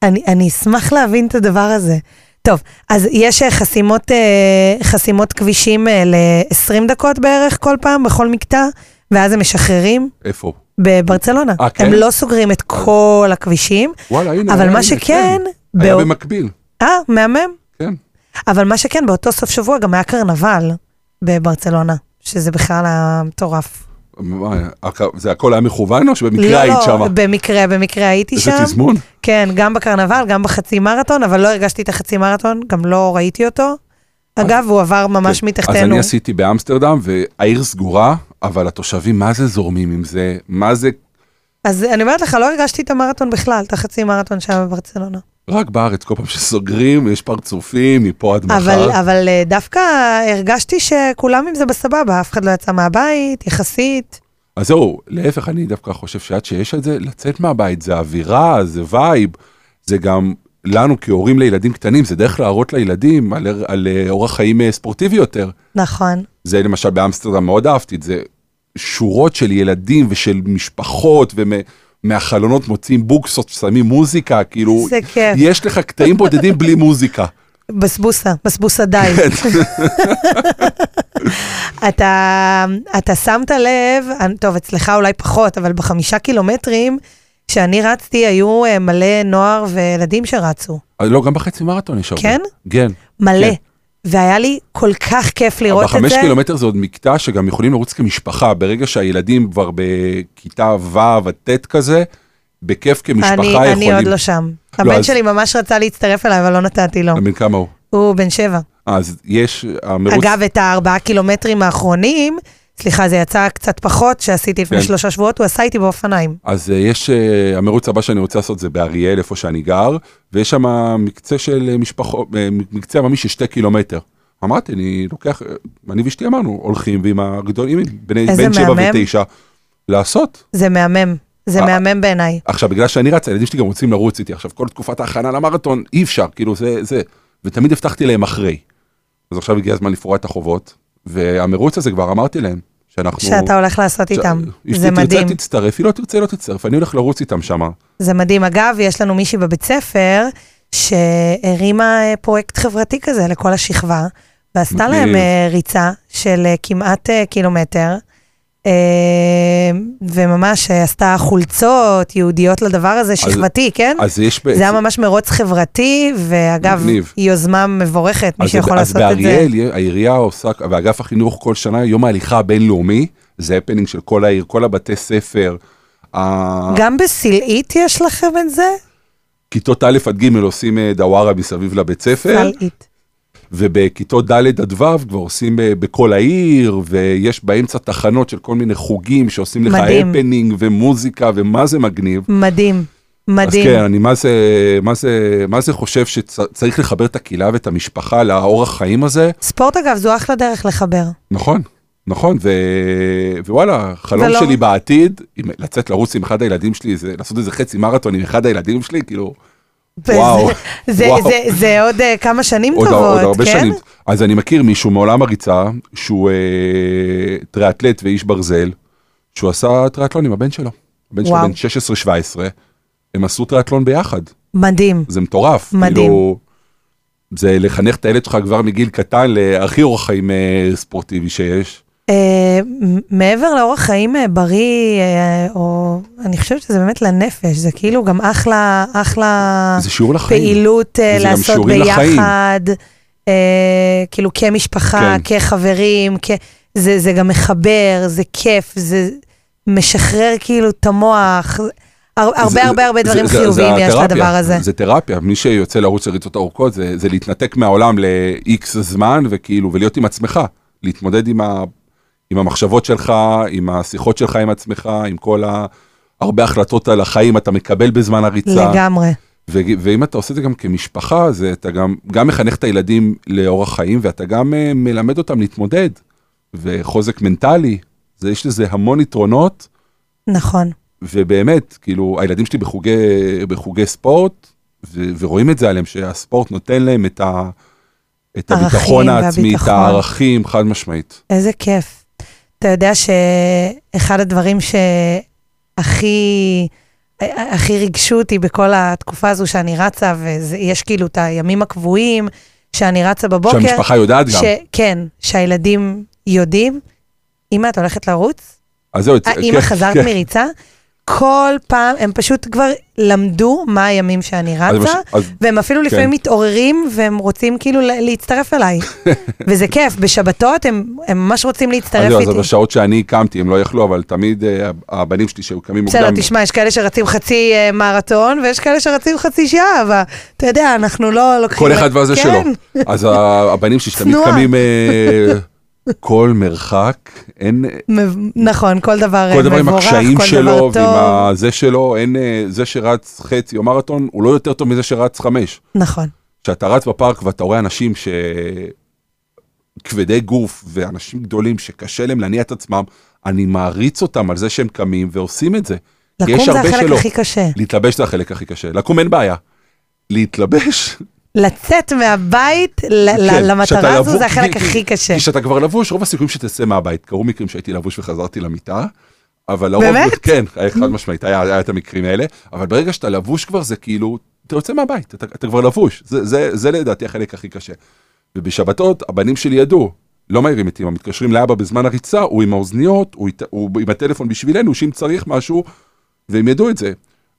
[SPEAKER 6] אני, אני אשמח להבין את הדבר הזה. טוב, אז יש אה, חסימות, אה, חסימות כבישים ל-20 דקות בערך כל פעם, בכל מקטע, ואז הם משחררים
[SPEAKER 2] איפה?
[SPEAKER 6] בברצלונה.
[SPEAKER 2] אה, כן?
[SPEAKER 6] הם לא סוגרים את כל הכבישים,
[SPEAKER 2] וואלה, הנה.
[SPEAKER 6] אבל
[SPEAKER 2] היה,
[SPEAKER 6] מה
[SPEAKER 2] הנה,
[SPEAKER 6] שכן...
[SPEAKER 2] כן. היה
[SPEAKER 6] בא-
[SPEAKER 2] במקביל,
[SPEAKER 6] אה, מהמם.
[SPEAKER 2] כן.
[SPEAKER 6] אבל מה שכן, באותו סוף שבוע גם היה קרנבל בברצלונה, שזה בכלל היה מטורף.
[SPEAKER 2] מה, הכ- זה הכל היה מכוון או שבמקרה היית
[SPEAKER 6] לא,
[SPEAKER 2] שמה?
[SPEAKER 6] לא, במקרה, במקרה הייתי
[SPEAKER 2] איזה
[SPEAKER 6] שם.
[SPEAKER 2] תזמון?
[SPEAKER 6] כן, גם בקרנבל, גם בחצי מרתון, אבל לא הרגשתי את החצי מרתון, גם לא ראיתי אותו. אגב, הוא עבר ממש מתחתנו.
[SPEAKER 2] כן. אז אני עשיתי באמסטרדם, והעיר סגורה, אבל התושבים, מה זה זורמים עם זה? מה זה?
[SPEAKER 6] אז אני אומרת לך, לא הרגשתי את המרתון בכלל, את החצי מרתון שם בברצלונה.
[SPEAKER 2] רק בארץ, כל פעם שסוגרים, יש פרצופים מפה עד מחר.
[SPEAKER 6] אבל, אבל אה, דווקא הרגשתי שכולם עם זה בסבבה, אף אחד לא יצא מהבית, יחסית.
[SPEAKER 2] אז זהו, להפך, אני דווקא חושב שעד שיש את זה, לצאת מהבית זה אווירה, זה וייב, זה גם לנו כהורים לילדים קטנים, זה דרך להראות לילדים על, על, על אה, אורח חיים אה, ספורטיבי יותר.
[SPEAKER 6] נכון.
[SPEAKER 2] זה למשל באמסטרדם מאוד אהבתי את זה, שורות של ילדים ושל משפחות ומהחלונות מוצאים בוקסות, שמים מוזיקה, כאילו,
[SPEAKER 6] זה כיף.
[SPEAKER 2] יש לך קטעים בודדים בלי
[SPEAKER 6] <laughs>
[SPEAKER 2] מוזיקה.
[SPEAKER 6] בסבוסה, בסבוסה די.
[SPEAKER 2] כן.
[SPEAKER 6] אתה, אתה שמת לב, אני- טוב, אצלך אולי פחות, אבל בחמישה קילומטרים שאני רצתי, היו אה, מלא נוער וילדים שרצו.
[SPEAKER 2] אז לא, גם בחצי מרתון יש הרבה.
[SPEAKER 6] כן?
[SPEAKER 2] כן.
[SPEAKER 6] מלא.
[SPEAKER 2] כן.
[SPEAKER 6] והיה לי כל כך כיף לראות את זה.
[SPEAKER 2] בחמש קילומטר זה עוד מקטע שגם יכולים לרוץ כמשפחה, ברגע שהילדים כבר בכיתה ו' עד ט' כזה, בכיף כמשפחה
[SPEAKER 6] אני,
[SPEAKER 2] יכולים.
[SPEAKER 6] אני עוד לא שם.
[SPEAKER 2] לא,
[SPEAKER 6] הבן
[SPEAKER 2] אז-
[SPEAKER 6] שלי ממש רצה להצטרף אליי, אבל לא נתתי לו.
[SPEAKER 2] בן כמה הוא?
[SPEAKER 6] הוא בן שבע.
[SPEAKER 2] אז יש, המרוץ,
[SPEAKER 6] אגב, את הארבעה קילומטרים האחרונים, סליחה, זה יצא קצת פחות, שעשיתי לפני
[SPEAKER 2] כן.
[SPEAKER 6] שלושה שבועות, הוא עשה איתי באופניים.
[SPEAKER 2] אז אה, יש, אה, המרוץ הבא שאני רוצה לעשות זה באריאל, איפה שאני גר, ויש שם מקצה של אה, משפחות, אה, מקצה עממי של שתי קילומטר. אמרתי, אני לוקח, אה, אני ואשתי אמרנו, הולכים ועם הגדולים, עם בני-
[SPEAKER 6] איזה
[SPEAKER 2] בן שבע
[SPEAKER 6] מהמם.
[SPEAKER 2] ותשע, לעשות.
[SPEAKER 6] זה מהמם, זה
[SPEAKER 2] אה,
[SPEAKER 6] מהמם בעיניי.
[SPEAKER 2] עכשיו, בגלל שאני רץ, הילדים שלי גם רוצים לרוץ איתי. עכשיו, כל תקופת ההכנה למרתון, אי אפשר, כאילו, זה, זה. ותמיד הבטחתי להם אחרי. אז עכשיו הגיע הזמן לפרוע את החובות, והמרוץ הזה כבר אמרתי להם, שאנחנו...
[SPEAKER 6] שאתה הולך לעשות
[SPEAKER 2] ש-
[SPEAKER 6] איתם.
[SPEAKER 2] אשתי
[SPEAKER 6] זה מדהים,
[SPEAKER 2] תרצה, תצטרף, היא לא תרצה, היא לא תצטרף, אני הולך לרוץ איתם שמה.
[SPEAKER 6] זה מדהים. אגב, יש לנו מישהי בבית ספר שהרימה אה, פרויקט חברתי כזה לכל השכבה, ועשתה
[SPEAKER 2] מגניב.
[SPEAKER 6] להם אה, ריצה של אה, כמעט אה, קילומטר, אה, וממש אה, עשתה חולצות ייעודיות לדבר הזה, שכבתי, כן?
[SPEAKER 2] אז יש... ב-
[SPEAKER 6] זה היה ממש מרוץ חברתי, ואגב,
[SPEAKER 2] מגניב.
[SPEAKER 6] יוזמה מבורכת, מי
[SPEAKER 2] אז-
[SPEAKER 6] שיכול לעשות את
[SPEAKER 2] אז
[SPEAKER 6] זה.
[SPEAKER 2] באריאל יה- העירייה עושה, ואגף החינוך כל שנה, יום ההליכה הבינלאומי, זה הפנינג של כל העיר, כל הבתי ספר. ה-
[SPEAKER 6] גם בסלעית יש לכם את זה?
[SPEAKER 2] כיתות א' עד ג' עושים אה, דווארה מסביב לבית ספר,
[SPEAKER 6] סלעית.
[SPEAKER 2] ובכיתות ד' עד ו' כבר עושים אה, בכל העיר, ויש באמצע תחנות של כל מיני חוגים שעושים לך
[SPEAKER 6] מדהים.
[SPEAKER 2] הפנינג ומוזיקה, ומה זה מגניב.
[SPEAKER 6] מדהים, מדהים.
[SPEAKER 2] אז כן, אני מה זה, מה זה, מה זה חושב שצריך לחבר את הקהילה ואת המשפחה לאורח חיים הזה?
[SPEAKER 6] ספורט אגב, זו אחלה דרך לחבר.
[SPEAKER 2] נכון, נכון, ו... ווואלה, חלום
[SPEAKER 6] ולא-
[SPEAKER 2] שלי בעתיד, אם לצאת לרוץ עם אחד הילדים שלי, זה, לעשות איזה חצי מרתון עם אחד הילדים שלי, כאילו, וואו,
[SPEAKER 6] וזה- זה,
[SPEAKER 2] וואו.
[SPEAKER 6] זה, זה עוד אה, כמה שנים
[SPEAKER 2] עוד,
[SPEAKER 6] טובות,
[SPEAKER 2] עוד הרבה
[SPEAKER 6] כן?
[SPEAKER 2] שנים. אז אני מכיר מישהו מעולם הריצה, שהוא אה, טריאטלט ואיש ברזל, שהוא עשה טריאטלון עם הבן שלו. הבן שלו
[SPEAKER 6] וואו.
[SPEAKER 2] בן 16-17, הם עשו טריאטלון ביחד.
[SPEAKER 6] מדהים.
[SPEAKER 2] זה מטורף.
[SPEAKER 6] מדהים.
[SPEAKER 2] כאילו, זה לחנך את הילד שלך כבר מגיל קטן להכי אורח חיים אה, ספורטיבי שיש.
[SPEAKER 6] אה, מ- מעבר לאורח חיים אה, בריא, אה, או אני חושבת שזה באמת לנפש, זה כאילו גם אחלה, אחלה
[SPEAKER 2] זה שיעור לחיים.
[SPEAKER 6] אה, פעילות אה,
[SPEAKER 2] וזה גם
[SPEAKER 6] לעשות
[SPEAKER 2] שיעורים לחיים.
[SPEAKER 6] ביחד, אה, כאילו כמשפחה,
[SPEAKER 2] כן.
[SPEAKER 6] כחברים, כ... זה, זה גם מחבר, זה כיף, זה משחרר כאילו את המוח, הר, הרבה
[SPEAKER 2] זה-
[SPEAKER 6] הרבה הרבה
[SPEAKER 2] זה-
[SPEAKER 6] דברים
[SPEAKER 2] זה- זה
[SPEAKER 6] חיוביים יש
[SPEAKER 2] התרפיה.
[SPEAKER 6] לדבר הזה.
[SPEAKER 2] זה תרפיה, מי שיוצא לרוץ לריצות ארוכות זה, זה להתנתק מהעולם ל-X זמן וכאילו, ולהיות עם עצמך, להתמודד עם, ה, עם המחשבות שלך, עם השיחות שלך עם עצמך, עם כל ה... הרבה החלטות על החיים אתה מקבל בזמן הריצה.
[SPEAKER 6] לגמרי.
[SPEAKER 2] ו- ואם אתה עושה את זה גם כמשפחה, זה אתה גם, גם מחנך את הילדים לאורח חיים, ואתה גם אה, מלמד אותם להתמודד, וחוזק מנטלי, זה, יש לזה המון יתרונות,
[SPEAKER 6] נכון.
[SPEAKER 2] ובאמת, כאילו, הילדים שלי בחוגי, בחוגי ספורט, ו- ורואים את זה עליהם, שהספורט נותן להם את, ה- את
[SPEAKER 6] ערכים
[SPEAKER 2] הביטחון העצמי, את
[SPEAKER 6] והביטחון.
[SPEAKER 2] הערכים, חד משמעית.
[SPEAKER 6] איזה כיף. אתה יודע שאחד הדברים שהכי הכי ריגשו אותי בכל התקופה הזו שאני רצה, ויש כאילו את הימים הקבועים שאני רצה בבוקר.
[SPEAKER 2] שהמשפחה יודעת גם.
[SPEAKER 6] ש... כן, שהילדים יודעים. אמא, את הולכת לרוץ?
[SPEAKER 2] אז זהו, כן,
[SPEAKER 6] האמא אה, חזרת מריצה? כל פעם, הם פשוט כבר למדו מה הימים שאני
[SPEAKER 2] אז,
[SPEAKER 6] רצה.
[SPEAKER 2] אז כן.
[SPEAKER 6] והם אפילו לפעמים מתעוררים והם רוצים כאילו ל-
[SPEAKER 2] <laughs>
[SPEAKER 6] להצטרף אליי. וזה כיף, בשבתות הם, הם ממש רוצים
[SPEAKER 2] אז
[SPEAKER 6] להצטרף
[SPEAKER 2] זהו, אז
[SPEAKER 6] איתי.
[SPEAKER 2] בשעות שאני קמתי, הם לא יכלו, אבל תמיד אה, הבנים שלי שהיו קמים
[SPEAKER 6] בסדר,
[SPEAKER 2] מוקדם,
[SPEAKER 6] תשמע, יש כאלה שרצים חצי אה, מרתון ויש כאלה שרצים חצי שעה, אבל אתה יודע, אנחנו לא לוקחים...
[SPEAKER 2] כל אחד והזה
[SPEAKER 6] כן.
[SPEAKER 2] שלו. אז ה- הבנים שלי שתמיד
[SPEAKER 6] צנועה.
[SPEAKER 2] קמים אה, כל מרחק, אין,
[SPEAKER 6] מב- נכון, כל דבר אה,
[SPEAKER 2] כל דבר עם
[SPEAKER 6] מבורך,
[SPEAKER 2] הקשיים
[SPEAKER 6] כל
[SPEAKER 2] שלו
[SPEAKER 6] דבר
[SPEAKER 2] ועם
[SPEAKER 6] טוב.
[SPEAKER 2] ה- זה שלו, אין אה, זה שרץ חצי או מרתון, הוא לא יותר טוב מזה שרץ חמש.
[SPEAKER 6] נכון,
[SPEAKER 2] כשאתה רץ בפארק ואתה רואה אנשים ש... כבדי גוף ואנשים גדולים שקשה להם להניע את עצמם, אני מעריץ אותם על זה שהם קמים ועושים את זה. כי יש
[SPEAKER 6] לקום זה
[SPEAKER 2] הרבה
[SPEAKER 6] החלק
[SPEAKER 2] שלא.
[SPEAKER 6] הכי קשה.
[SPEAKER 2] להתלבש זה החלק הכי קשה, לקום אין בעיה. להתלבש
[SPEAKER 6] לצאת מהבית ל- ל-
[SPEAKER 2] כן,
[SPEAKER 6] למטרה
[SPEAKER 2] כשאתה
[SPEAKER 6] הזו
[SPEAKER 2] לבוש-
[SPEAKER 6] זה החלק
[SPEAKER 2] כי- כי-
[SPEAKER 6] הכי קשה.
[SPEAKER 2] כי כשאתה כבר לבוש, רוב הסיכויים שתצא מהבית. קרו מקרים שהייתי לבוש וחזרתי למיטה, אבל לרוב...
[SPEAKER 6] באמת?
[SPEAKER 2] כן, היה חד משמעית, היה, היה את המקרים האלה, אבל ברגע שאתה לבוש כבר, זה כאילו, אתה יוצא מהבית, אתה, אתה כבר לבוש. זה, זה, זה לדעתי החלק הכי קשה. ובשבתות, הבנים שלי ידעו, לא מעירים את אמא, מתקשרים לאבא בזמן הריצה, הוא עם האוזניות, הוא, אית- הוא עם הטלפון בשבילנו, שאם צריך משהו, והם ידעו את זה.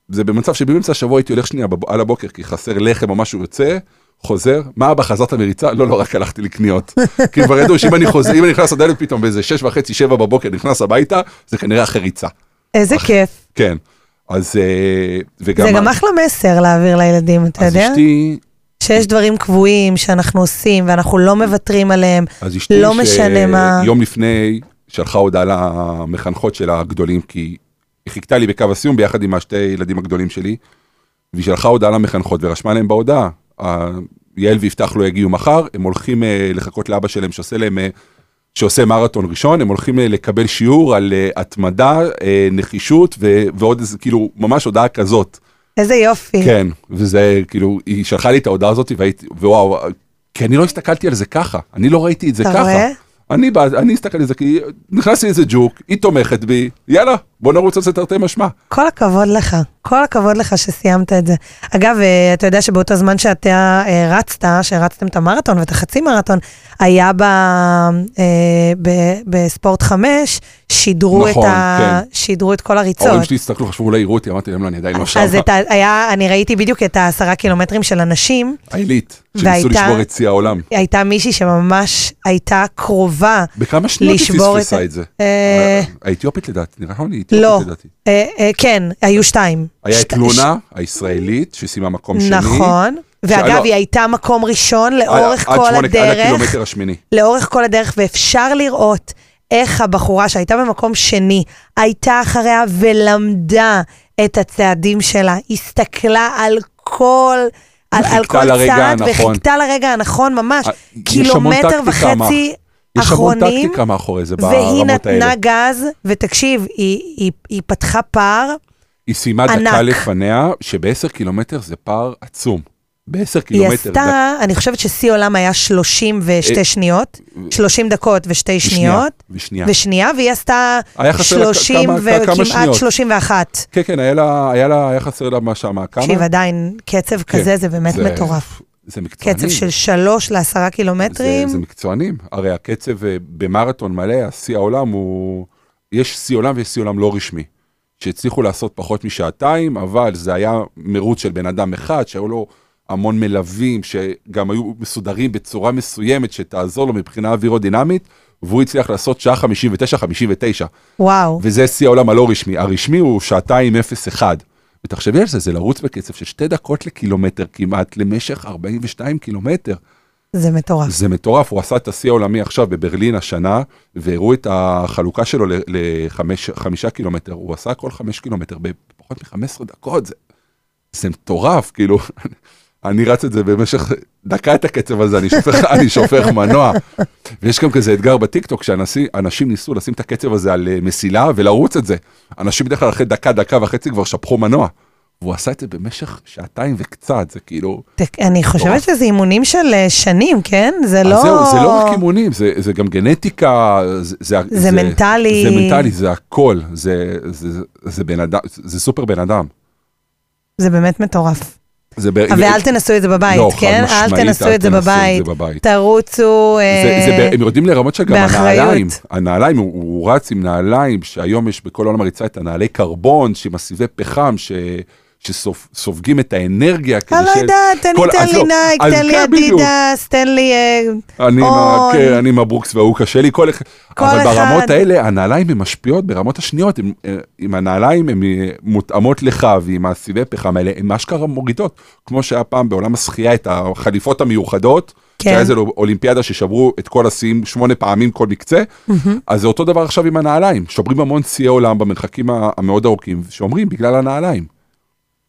[SPEAKER 2] זה במצב שבאמצע השבוע הייתי הולך שנייה בב- על הבוקר, כי חסר לחם או משהו יוצא, חוזר, מה אבא, חזרת מריצה? לא, לא, רק הלכתי
[SPEAKER 6] <laughs>
[SPEAKER 2] לקניות. כי כבר ידעו שאם אני חוזר, אם אני נכנס לדלת פתאום באיזה שש וחצי, שבע בבוקר, נכנס הביתה, זה כנראה אחרי ריצה.
[SPEAKER 6] איזה כיף.
[SPEAKER 2] כן. אז אה, וגם...
[SPEAKER 6] זה גם אחלה מסר להעביר לילדים, אתה
[SPEAKER 2] אז
[SPEAKER 6] יודע?
[SPEAKER 2] אשתי,
[SPEAKER 6] שיש דברים קבועים שאנחנו עושים ואנחנו לא מוותרים עליהם.
[SPEAKER 2] אז אשתי,
[SPEAKER 6] לא משנה מה.
[SPEAKER 2] יום לפני שלחה הודעה למחנכות שלה הגדולים, כי היא חיכתה לי בקו הסיום ביחד עם השתי ילדים הגדולים שלי, והיא שלחה הודעה למחנכות ורשמה להם בהודעה, ה- יעל ויפתח לא יגיעו מחר, הם הולכים אה, לחכות לאבא שלהם שעושה להם, אה, שעושה מרתון ראשון, הם הולכים אה, לקבל שיעור על אה, התמדה, אה, נחישות ו- ועוד איזה, כאילו, ממש הודעה כזאת.
[SPEAKER 6] איזה יופי.
[SPEAKER 2] כן, וזה כאילו, היא שלחה לי את ההודעה הזאת והייתי, וואו, כי אני לא הסתכלתי על זה ככה, אני לא ראיתי את זה
[SPEAKER 6] אתה
[SPEAKER 2] ככה.
[SPEAKER 6] רואה?
[SPEAKER 2] אני בא, אני הסתכלתי על זה, כי נכנס לי איזה ג'וק, היא תומכת בי, יאללה, בוא נרוץ על זה תרתי משמע.
[SPEAKER 6] כל הכבוד לך, כל הכבוד לך שסיימת את זה. אגב, אה, אתה יודע שבאותו זמן שאתה אה, רצת, שרצתם את המרתון ואת החצי מרתון, היה ב, אה, ב, בספורט 5, שידרו,
[SPEAKER 2] נכון,
[SPEAKER 6] את, ה, שידרו את כל הריצות.
[SPEAKER 2] ההורים שלי הסתכלו, חשבו אולי יראו אותי, אמרתי להם, לא, אני עדיין לא שם.
[SPEAKER 6] אז את ה, היה, אני ראיתי בדיוק את העשרה קילומטרים של הנשים,
[SPEAKER 2] העילית. שניסו
[SPEAKER 6] והייתה-
[SPEAKER 2] לשבור את שיא העולם.
[SPEAKER 6] הייתה מישהי שממש הייתה קרובה.
[SPEAKER 2] בכמה שניות היא
[SPEAKER 6] לשבור את
[SPEAKER 2] פספסה
[SPEAKER 6] ה-
[SPEAKER 2] את זה?
[SPEAKER 6] אה,
[SPEAKER 2] האתיופית לדעתי, נראה לי
[SPEAKER 6] לא.
[SPEAKER 2] אתיופית לדעתי.
[SPEAKER 6] אה, אה, כן, היו שתיים.
[SPEAKER 2] היה את
[SPEAKER 6] שת-
[SPEAKER 2] לונה הישראלית, שסיימה מקום
[SPEAKER 6] ש-
[SPEAKER 2] שני.
[SPEAKER 6] נכון.
[SPEAKER 2] שלא-
[SPEAKER 6] ואגב, היא הייתה מקום ראשון
[SPEAKER 2] עד-
[SPEAKER 6] לאורך
[SPEAKER 2] עד
[SPEAKER 6] כל
[SPEAKER 2] שמונה- עד
[SPEAKER 6] הדרך.
[SPEAKER 2] הקילומטר השמיני.
[SPEAKER 6] לאורך כל הדרך, ואפשר לראות איך הבחורה שהייתה במקום שני, הייתה אחריה ולמדה את הצעדים שלה, הסתכלה על כל... על, על
[SPEAKER 2] וחיכתה
[SPEAKER 6] כל
[SPEAKER 2] לרגע
[SPEAKER 6] צעד,
[SPEAKER 2] הנכון.
[SPEAKER 6] וחיכתה לרגע הנכון ממש,
[SPEAKER 2] אה, יש המון
[SPEAKER 6] קילומטר
[SPEAKER 2] טקטיקה, מה?
[SPEAKER 6] וחצי
[SPEAKER 2] יש המון
[SPEAKER 6] אחרונים,
[SPEAKER 2] טקטיקה מאחורי זה
[SPEAKER 6] והיא
[SPEAKER 2] ברמות האלה.
[SPEAKER 6] נתנה גז, ותקשיב, היא, היא, היא פתחה פער,
[SPEAKER 2] היא סיימה דקה
[SPEAKER 6] ענק.
[SPEAKER 2] לפניה, שבעשר קילומטר זה פער עצום. בעשר
[SPEAKER 6] היא
[SPEAKER 2] קילומטר. דק-
[SPEAKER 6] עשתה, אני חושבת ששיא עולם היה 32
[SPEAKER 2] אה,
[SPEAKER 6] שניות, 30 דקות ושתי
[SPEAKER 2] ושנייה,
[SPEAKER 6] שניות,
[SPEAKER 2] ושנייה.
[SPEAKER 6] ושנייה, והיא עשתה
[SPEAKER 2] היה חסר לה כ-
[SPEAKER 6] 30
[SPEAKER 2] כמה- כמה
[SPEAKER 6] וכמעט
[SPEAKER 2] שניות.
[SPEAKER 6] 31.
[SPEAKER 2] כן, כן, היה לה, היה לה, היה חסר לה מה שמה, כמה?
[SPEAKER 6] תקשיב, עדיין, קצב כזה זה באמת
[SPEAKER 2] כן. זה-
[SPEAKER 6] מטורף.
[SPEAKER 2] זה מקצוענים.
[SPEAKER 6] קצב של 3 ל-10
[SPEAKER 2] זה,
[SPEAKER 6] קילומטרים,
[SPEAKER 2] זה מקצוענים. הרי הקצב אה, במרתון מלא, השיא העולם הוא... יש שיא עולם ויש שיא עולם לא רשמי. שהצליחו לעשות פחות משעתיים, אבל זה היה מרוץ של בן אדם אחד, שהיו לו המון מלווים, שגם היו מסודרים בצורה מסוימת שתעזור לו מבחינה אווירודינמית, והוא הצליח לעשות שעה 59-59.
[SPEAKER 6] וואו.
[SPEAKER 2] וזה שיא העולם הלא רשמי. הרשמי הוא שעתיים 0-1. ותחשבי על זה, זה לרוץ בקצב של שתי דקות לקילומטר כמעט, למשך 42 קילומטר.
[SPEAKER 6] זה מטורף.
[SPEAKER 2] זה מטורף, הוא עשה את השיא העולמי עכשיו בברלין השנה, והראו את החלוקה שלו ל- לחמש- חמישה קילומטר, הוא עשה כל חמש קילומטר בפחות מ-15 דקות, זה, זה מטורף, כאילו, <laughs> אני רץ את זה במשך דקה את הקצב הזה, אני שופך, <laughs> אני שופך מנוע. ויש גם כזה אתגר בטיקטוק, שאנשים ניסו לשים את הקצב הזה על אה, מסילה ולרוץ את זה. אנשים בדרך כלל אחרי דקה, דקה וחצי כבר שפכו מנוע. והוא עשה את זה במשך שעתיים וקצת, זה כאילו...
[SPEAKER 6] ת- אני חושבת
[SPEAKER 2] מטורף.
[SPEAKER 6] שזה אימונים של אה, שנים, כן? זה
[SPEAKER 2] אז
[SPEAKER 6] לא...
[SPEAKER 2] זהו, זה לא רק אימונים, זה, זה גם גנטיקה, זה, זה,
[SPEAKER 6] מנטלי.
[SPEAKER 2] זה מנטלי, זה הכל, זה, זה, זה בן אדם, זה סופר בן אדם.
[SPEAKER 6] זה באמת מטורף.
[SPEAKER 2] זה ב...
[SPEAKER 6] ואל תנסו את זה בבית,
[SPEAKER 2] אה, לא,
[SPEAKER 6] כן?
[SPEAKER 2] חד משמעית,
[SPEAKER 6] אל תנסו את זה בבית. תרוצו...
[SPEAKER 2] זה,
[SPEAKER 6] אה,
[SPEAKER 2] זה, ב- הם יורדים לרמות שגם
[SPEAKER 6] באחריות.
[SPEAKER 2] הנעליים, הנעליים, הוא, הוא רץ עם נעליים שהיום יש בכל העולם הריצה את הנעלי קרבון, שעם הסיבי פחם, ש... שסופגים את האנרגיה כדי
[SPEAKER 6] אני לא
[SPEAKER 2] ש-
[SPEAKER 6] יודעת, אני
[SPEAKER 2] כל-
[SPEAKER 6] תן
[SPEAKER 2] אז
[SPEAKER 6] לי
[SPEAKER 2] לא,
[SPEAKER 6] נייק,
[SPEAKER 2] אז
[SPEAKER 6] תן לי
[SPEAKER 2] כן, בדיוק.
[SPEAKER 6] אדידס, תן לי... אה,
[SPEAKER 2] אני, עם ה-
[SPEAKER 6] אוי.
[SPEAKER 2] כן, אני עם הברוקס וההוא קשה לי, כל, אח-
[SPEAKER 6] כל
[SPEAKER 2] אבל
[SPEAKER 6] אחד.
[SPEAKER 2] ברמות האלה הנעליים הן משפיעות ברמות השניות, הם, אה, עם הנעליים הן אה, מותאמות לך ועם הסיבי פחם האלה, הן אשכרה מורידות, כמו שהיה פעם בעולם השחייה את החליפות המיוחדות,
[SPEAKER 6] כן.
[SPEAKER 2] שהיה איזה אולימפיאדה ששברו את כל השיאים שמונה פעמים כל מקצה, אז זה אותו דבר עכשיו עם הנעליים, שוברים המון שיאי עולם במרחקים ה- המאוד ארוכים, שאומרים בגלל הנעליים,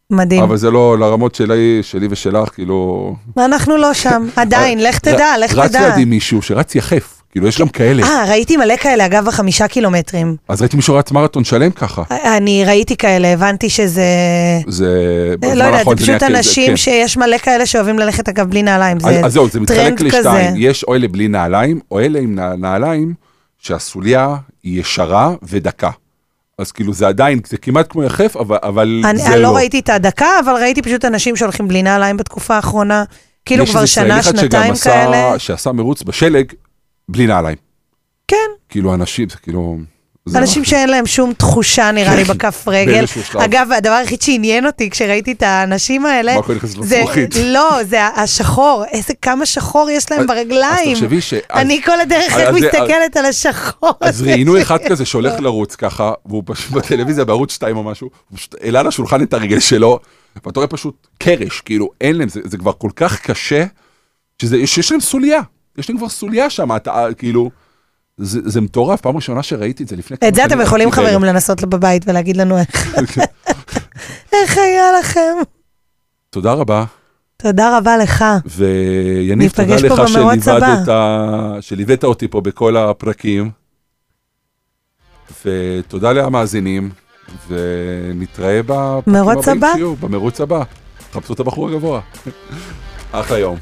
[SPEAKER 6] מדהים.
[SPEAKER 2] אבל זה לא לרמות שלי, שלי ושלך, כאילו...
[SPEAKER 6] אנחנו
[SPEAKER 2] <laughs>
[SPEAKER 6] לא שם, עדיין, לך תדע,
[SPEAKER 2] אה, ר-
[SPEAKER 6] לך
[SPEAKER 2] רץ
[SPEAKER 6] תדע.
[SPEAKER 2] לידי מישהו שרץ יחף, כאילו יש גם כאלה.
[SPEAKER 6] אה, ראיתי מלא כאלה, אגב, בחמישה קילומטרים.
[SPEAKER 2] אז ראיתי מישהו רץ מרתון שלם ככה.
[SPEAKER 6] אה. אני ראיתי כאלה, הבנתי שזה...
[SPEAKER 2] זה... בזמן
[SPEAKER 6] לא יודעת,
[SPEAKER 2] האחרון
[SPEAKER 6] זה
[SPEAKER 2] נהיה
[SPEAKER 6] פשוט
[SPEAKER 2] כזה, כן.
[SPEAKER 6] אנשים שיש מלא כאלה שאוהבים ללכת, אגב, בלי נעליים. זה
[SPEAKER 2] אז, אז זהו, זה מתחלק
[SPEAKER 6] טרנד כזה.
[SPEAKER 2] לשתיים. יש או אלה בלי נעליים, או אלה עם נע- נעליים, שהסוליה היא ישרה ודקה. אז כאילו זה עדיין, זה כמעט כמו יחף, אבל, אבל
[SPEAKER 6] אני
[SPEAKER 2] זה
[SPEAKER 6] אני
[SPEAKER 2] לא.
[SPEAKER 6] לא ראיתי את הדקה, אבל ראיתי פשוט אנשים שהולכים בלי נעליים בתקופה האחרונה. כאילו
[SPEAKER 2] יש
[SPEAKER 6] כבר
[SPEAKER 2] איזה ישראלי
[SPEAKER 6] שנה,
[SPEAKER 2] אחד שגם
[SPEAKER 6] שנתיים
[SPEAKER 2] עשה-
[SPEAKER 6] כאלה.
[SPEAKER 2] שעשה מרוץ בשלג בלי נעליים.
[SPEAKER 6] כן.
[SPEAKER 2] כאילו אנשים, זה כאילו... זה
[SPEAKER 6] אנשים שאין להם שום תחושה, נראה
[SPEAKER 2] <laughs>
[SPEAKER 6] לי, בכף רגל.
[SPEAKER 2] באיזשהו שלב.
[SPEAKER 6] אגב, הדבר היחיד שעניין אותי כשראיתי את האנשים האלה,
[SPEAKER 2] מרקו נכנס
[SPEAKER 6] זה,
[SPEAKER 2] לזכוכית.
[SPEAKER 6] <laughs> לא, זה השחור, איזה כמה שחור יש להם
[SPEAKER 2] אז-
[SPEAKER 6] ברגליים.
[SPEAKER 2] אז תחשבי ש... אז-
[SPEAKER 6] אני כל הדרך
[SPEAKER 2] אז-
[SPEAKER 6] רק
[SPEAKER 2] אז-
[SPEAKER 6] מסתכלת על השחור.
[SPEAKER 2] אז ראיינו אחד
[SPEAKER 6] <laughs>
[SPEAKER 2] כזה שהולך לרוץ ככה, והוא פשוט בטלוויזיה בערוץ 2 או משהו, הוא פשוט העלה לשולחן את הרגל שלו, ואתה רואה פשוט קרש, כאילו אין להם, זה, זה כבר כל כך קשה, שזה, יש, יש להם סוליה, יש להם כבר סוליה שם, אתה אה, כאילו, זה, זה מטורף, פעם ראשונה שראיתי את זה לפני כמה
[SPEAKER 6] את זה
[SPEAKER 2] שנים, כן.
[SPEAKER 6] אתם יכולים,
[SPEAKER 2] ראיתי <laughs>
[SPEAKER 6] חברים, לא. לנסות לו בבית ולהגיד לנו איך-
[SPEAKER 2] כאלה.
[SPEAKER 6] איך היה לכם.
[SPEAKER 2] תודה רבה,
[SPEAKER 6] תודה רבה לך.
[SPEAKER 2] ויניב, תודה
[SPEAKER 6] ניפגש פה
[SPEAKER 2] לך
[SPEAKER 6] במרוץ
[SPEAKER 2] שליוודת ה- שליווית אותי פה בכל הפרקים, ותודה למאזינים, ונתראה בפרקים
[SPEAKER 6] מרוץ
[SPEAKER 2] הבאים
[SPEAKER 6] הבא?
[SPEAKER 2] שיהיו, <laughs> במרוץ הבא. חפשו את הבחור הגבוה. אחלה יום.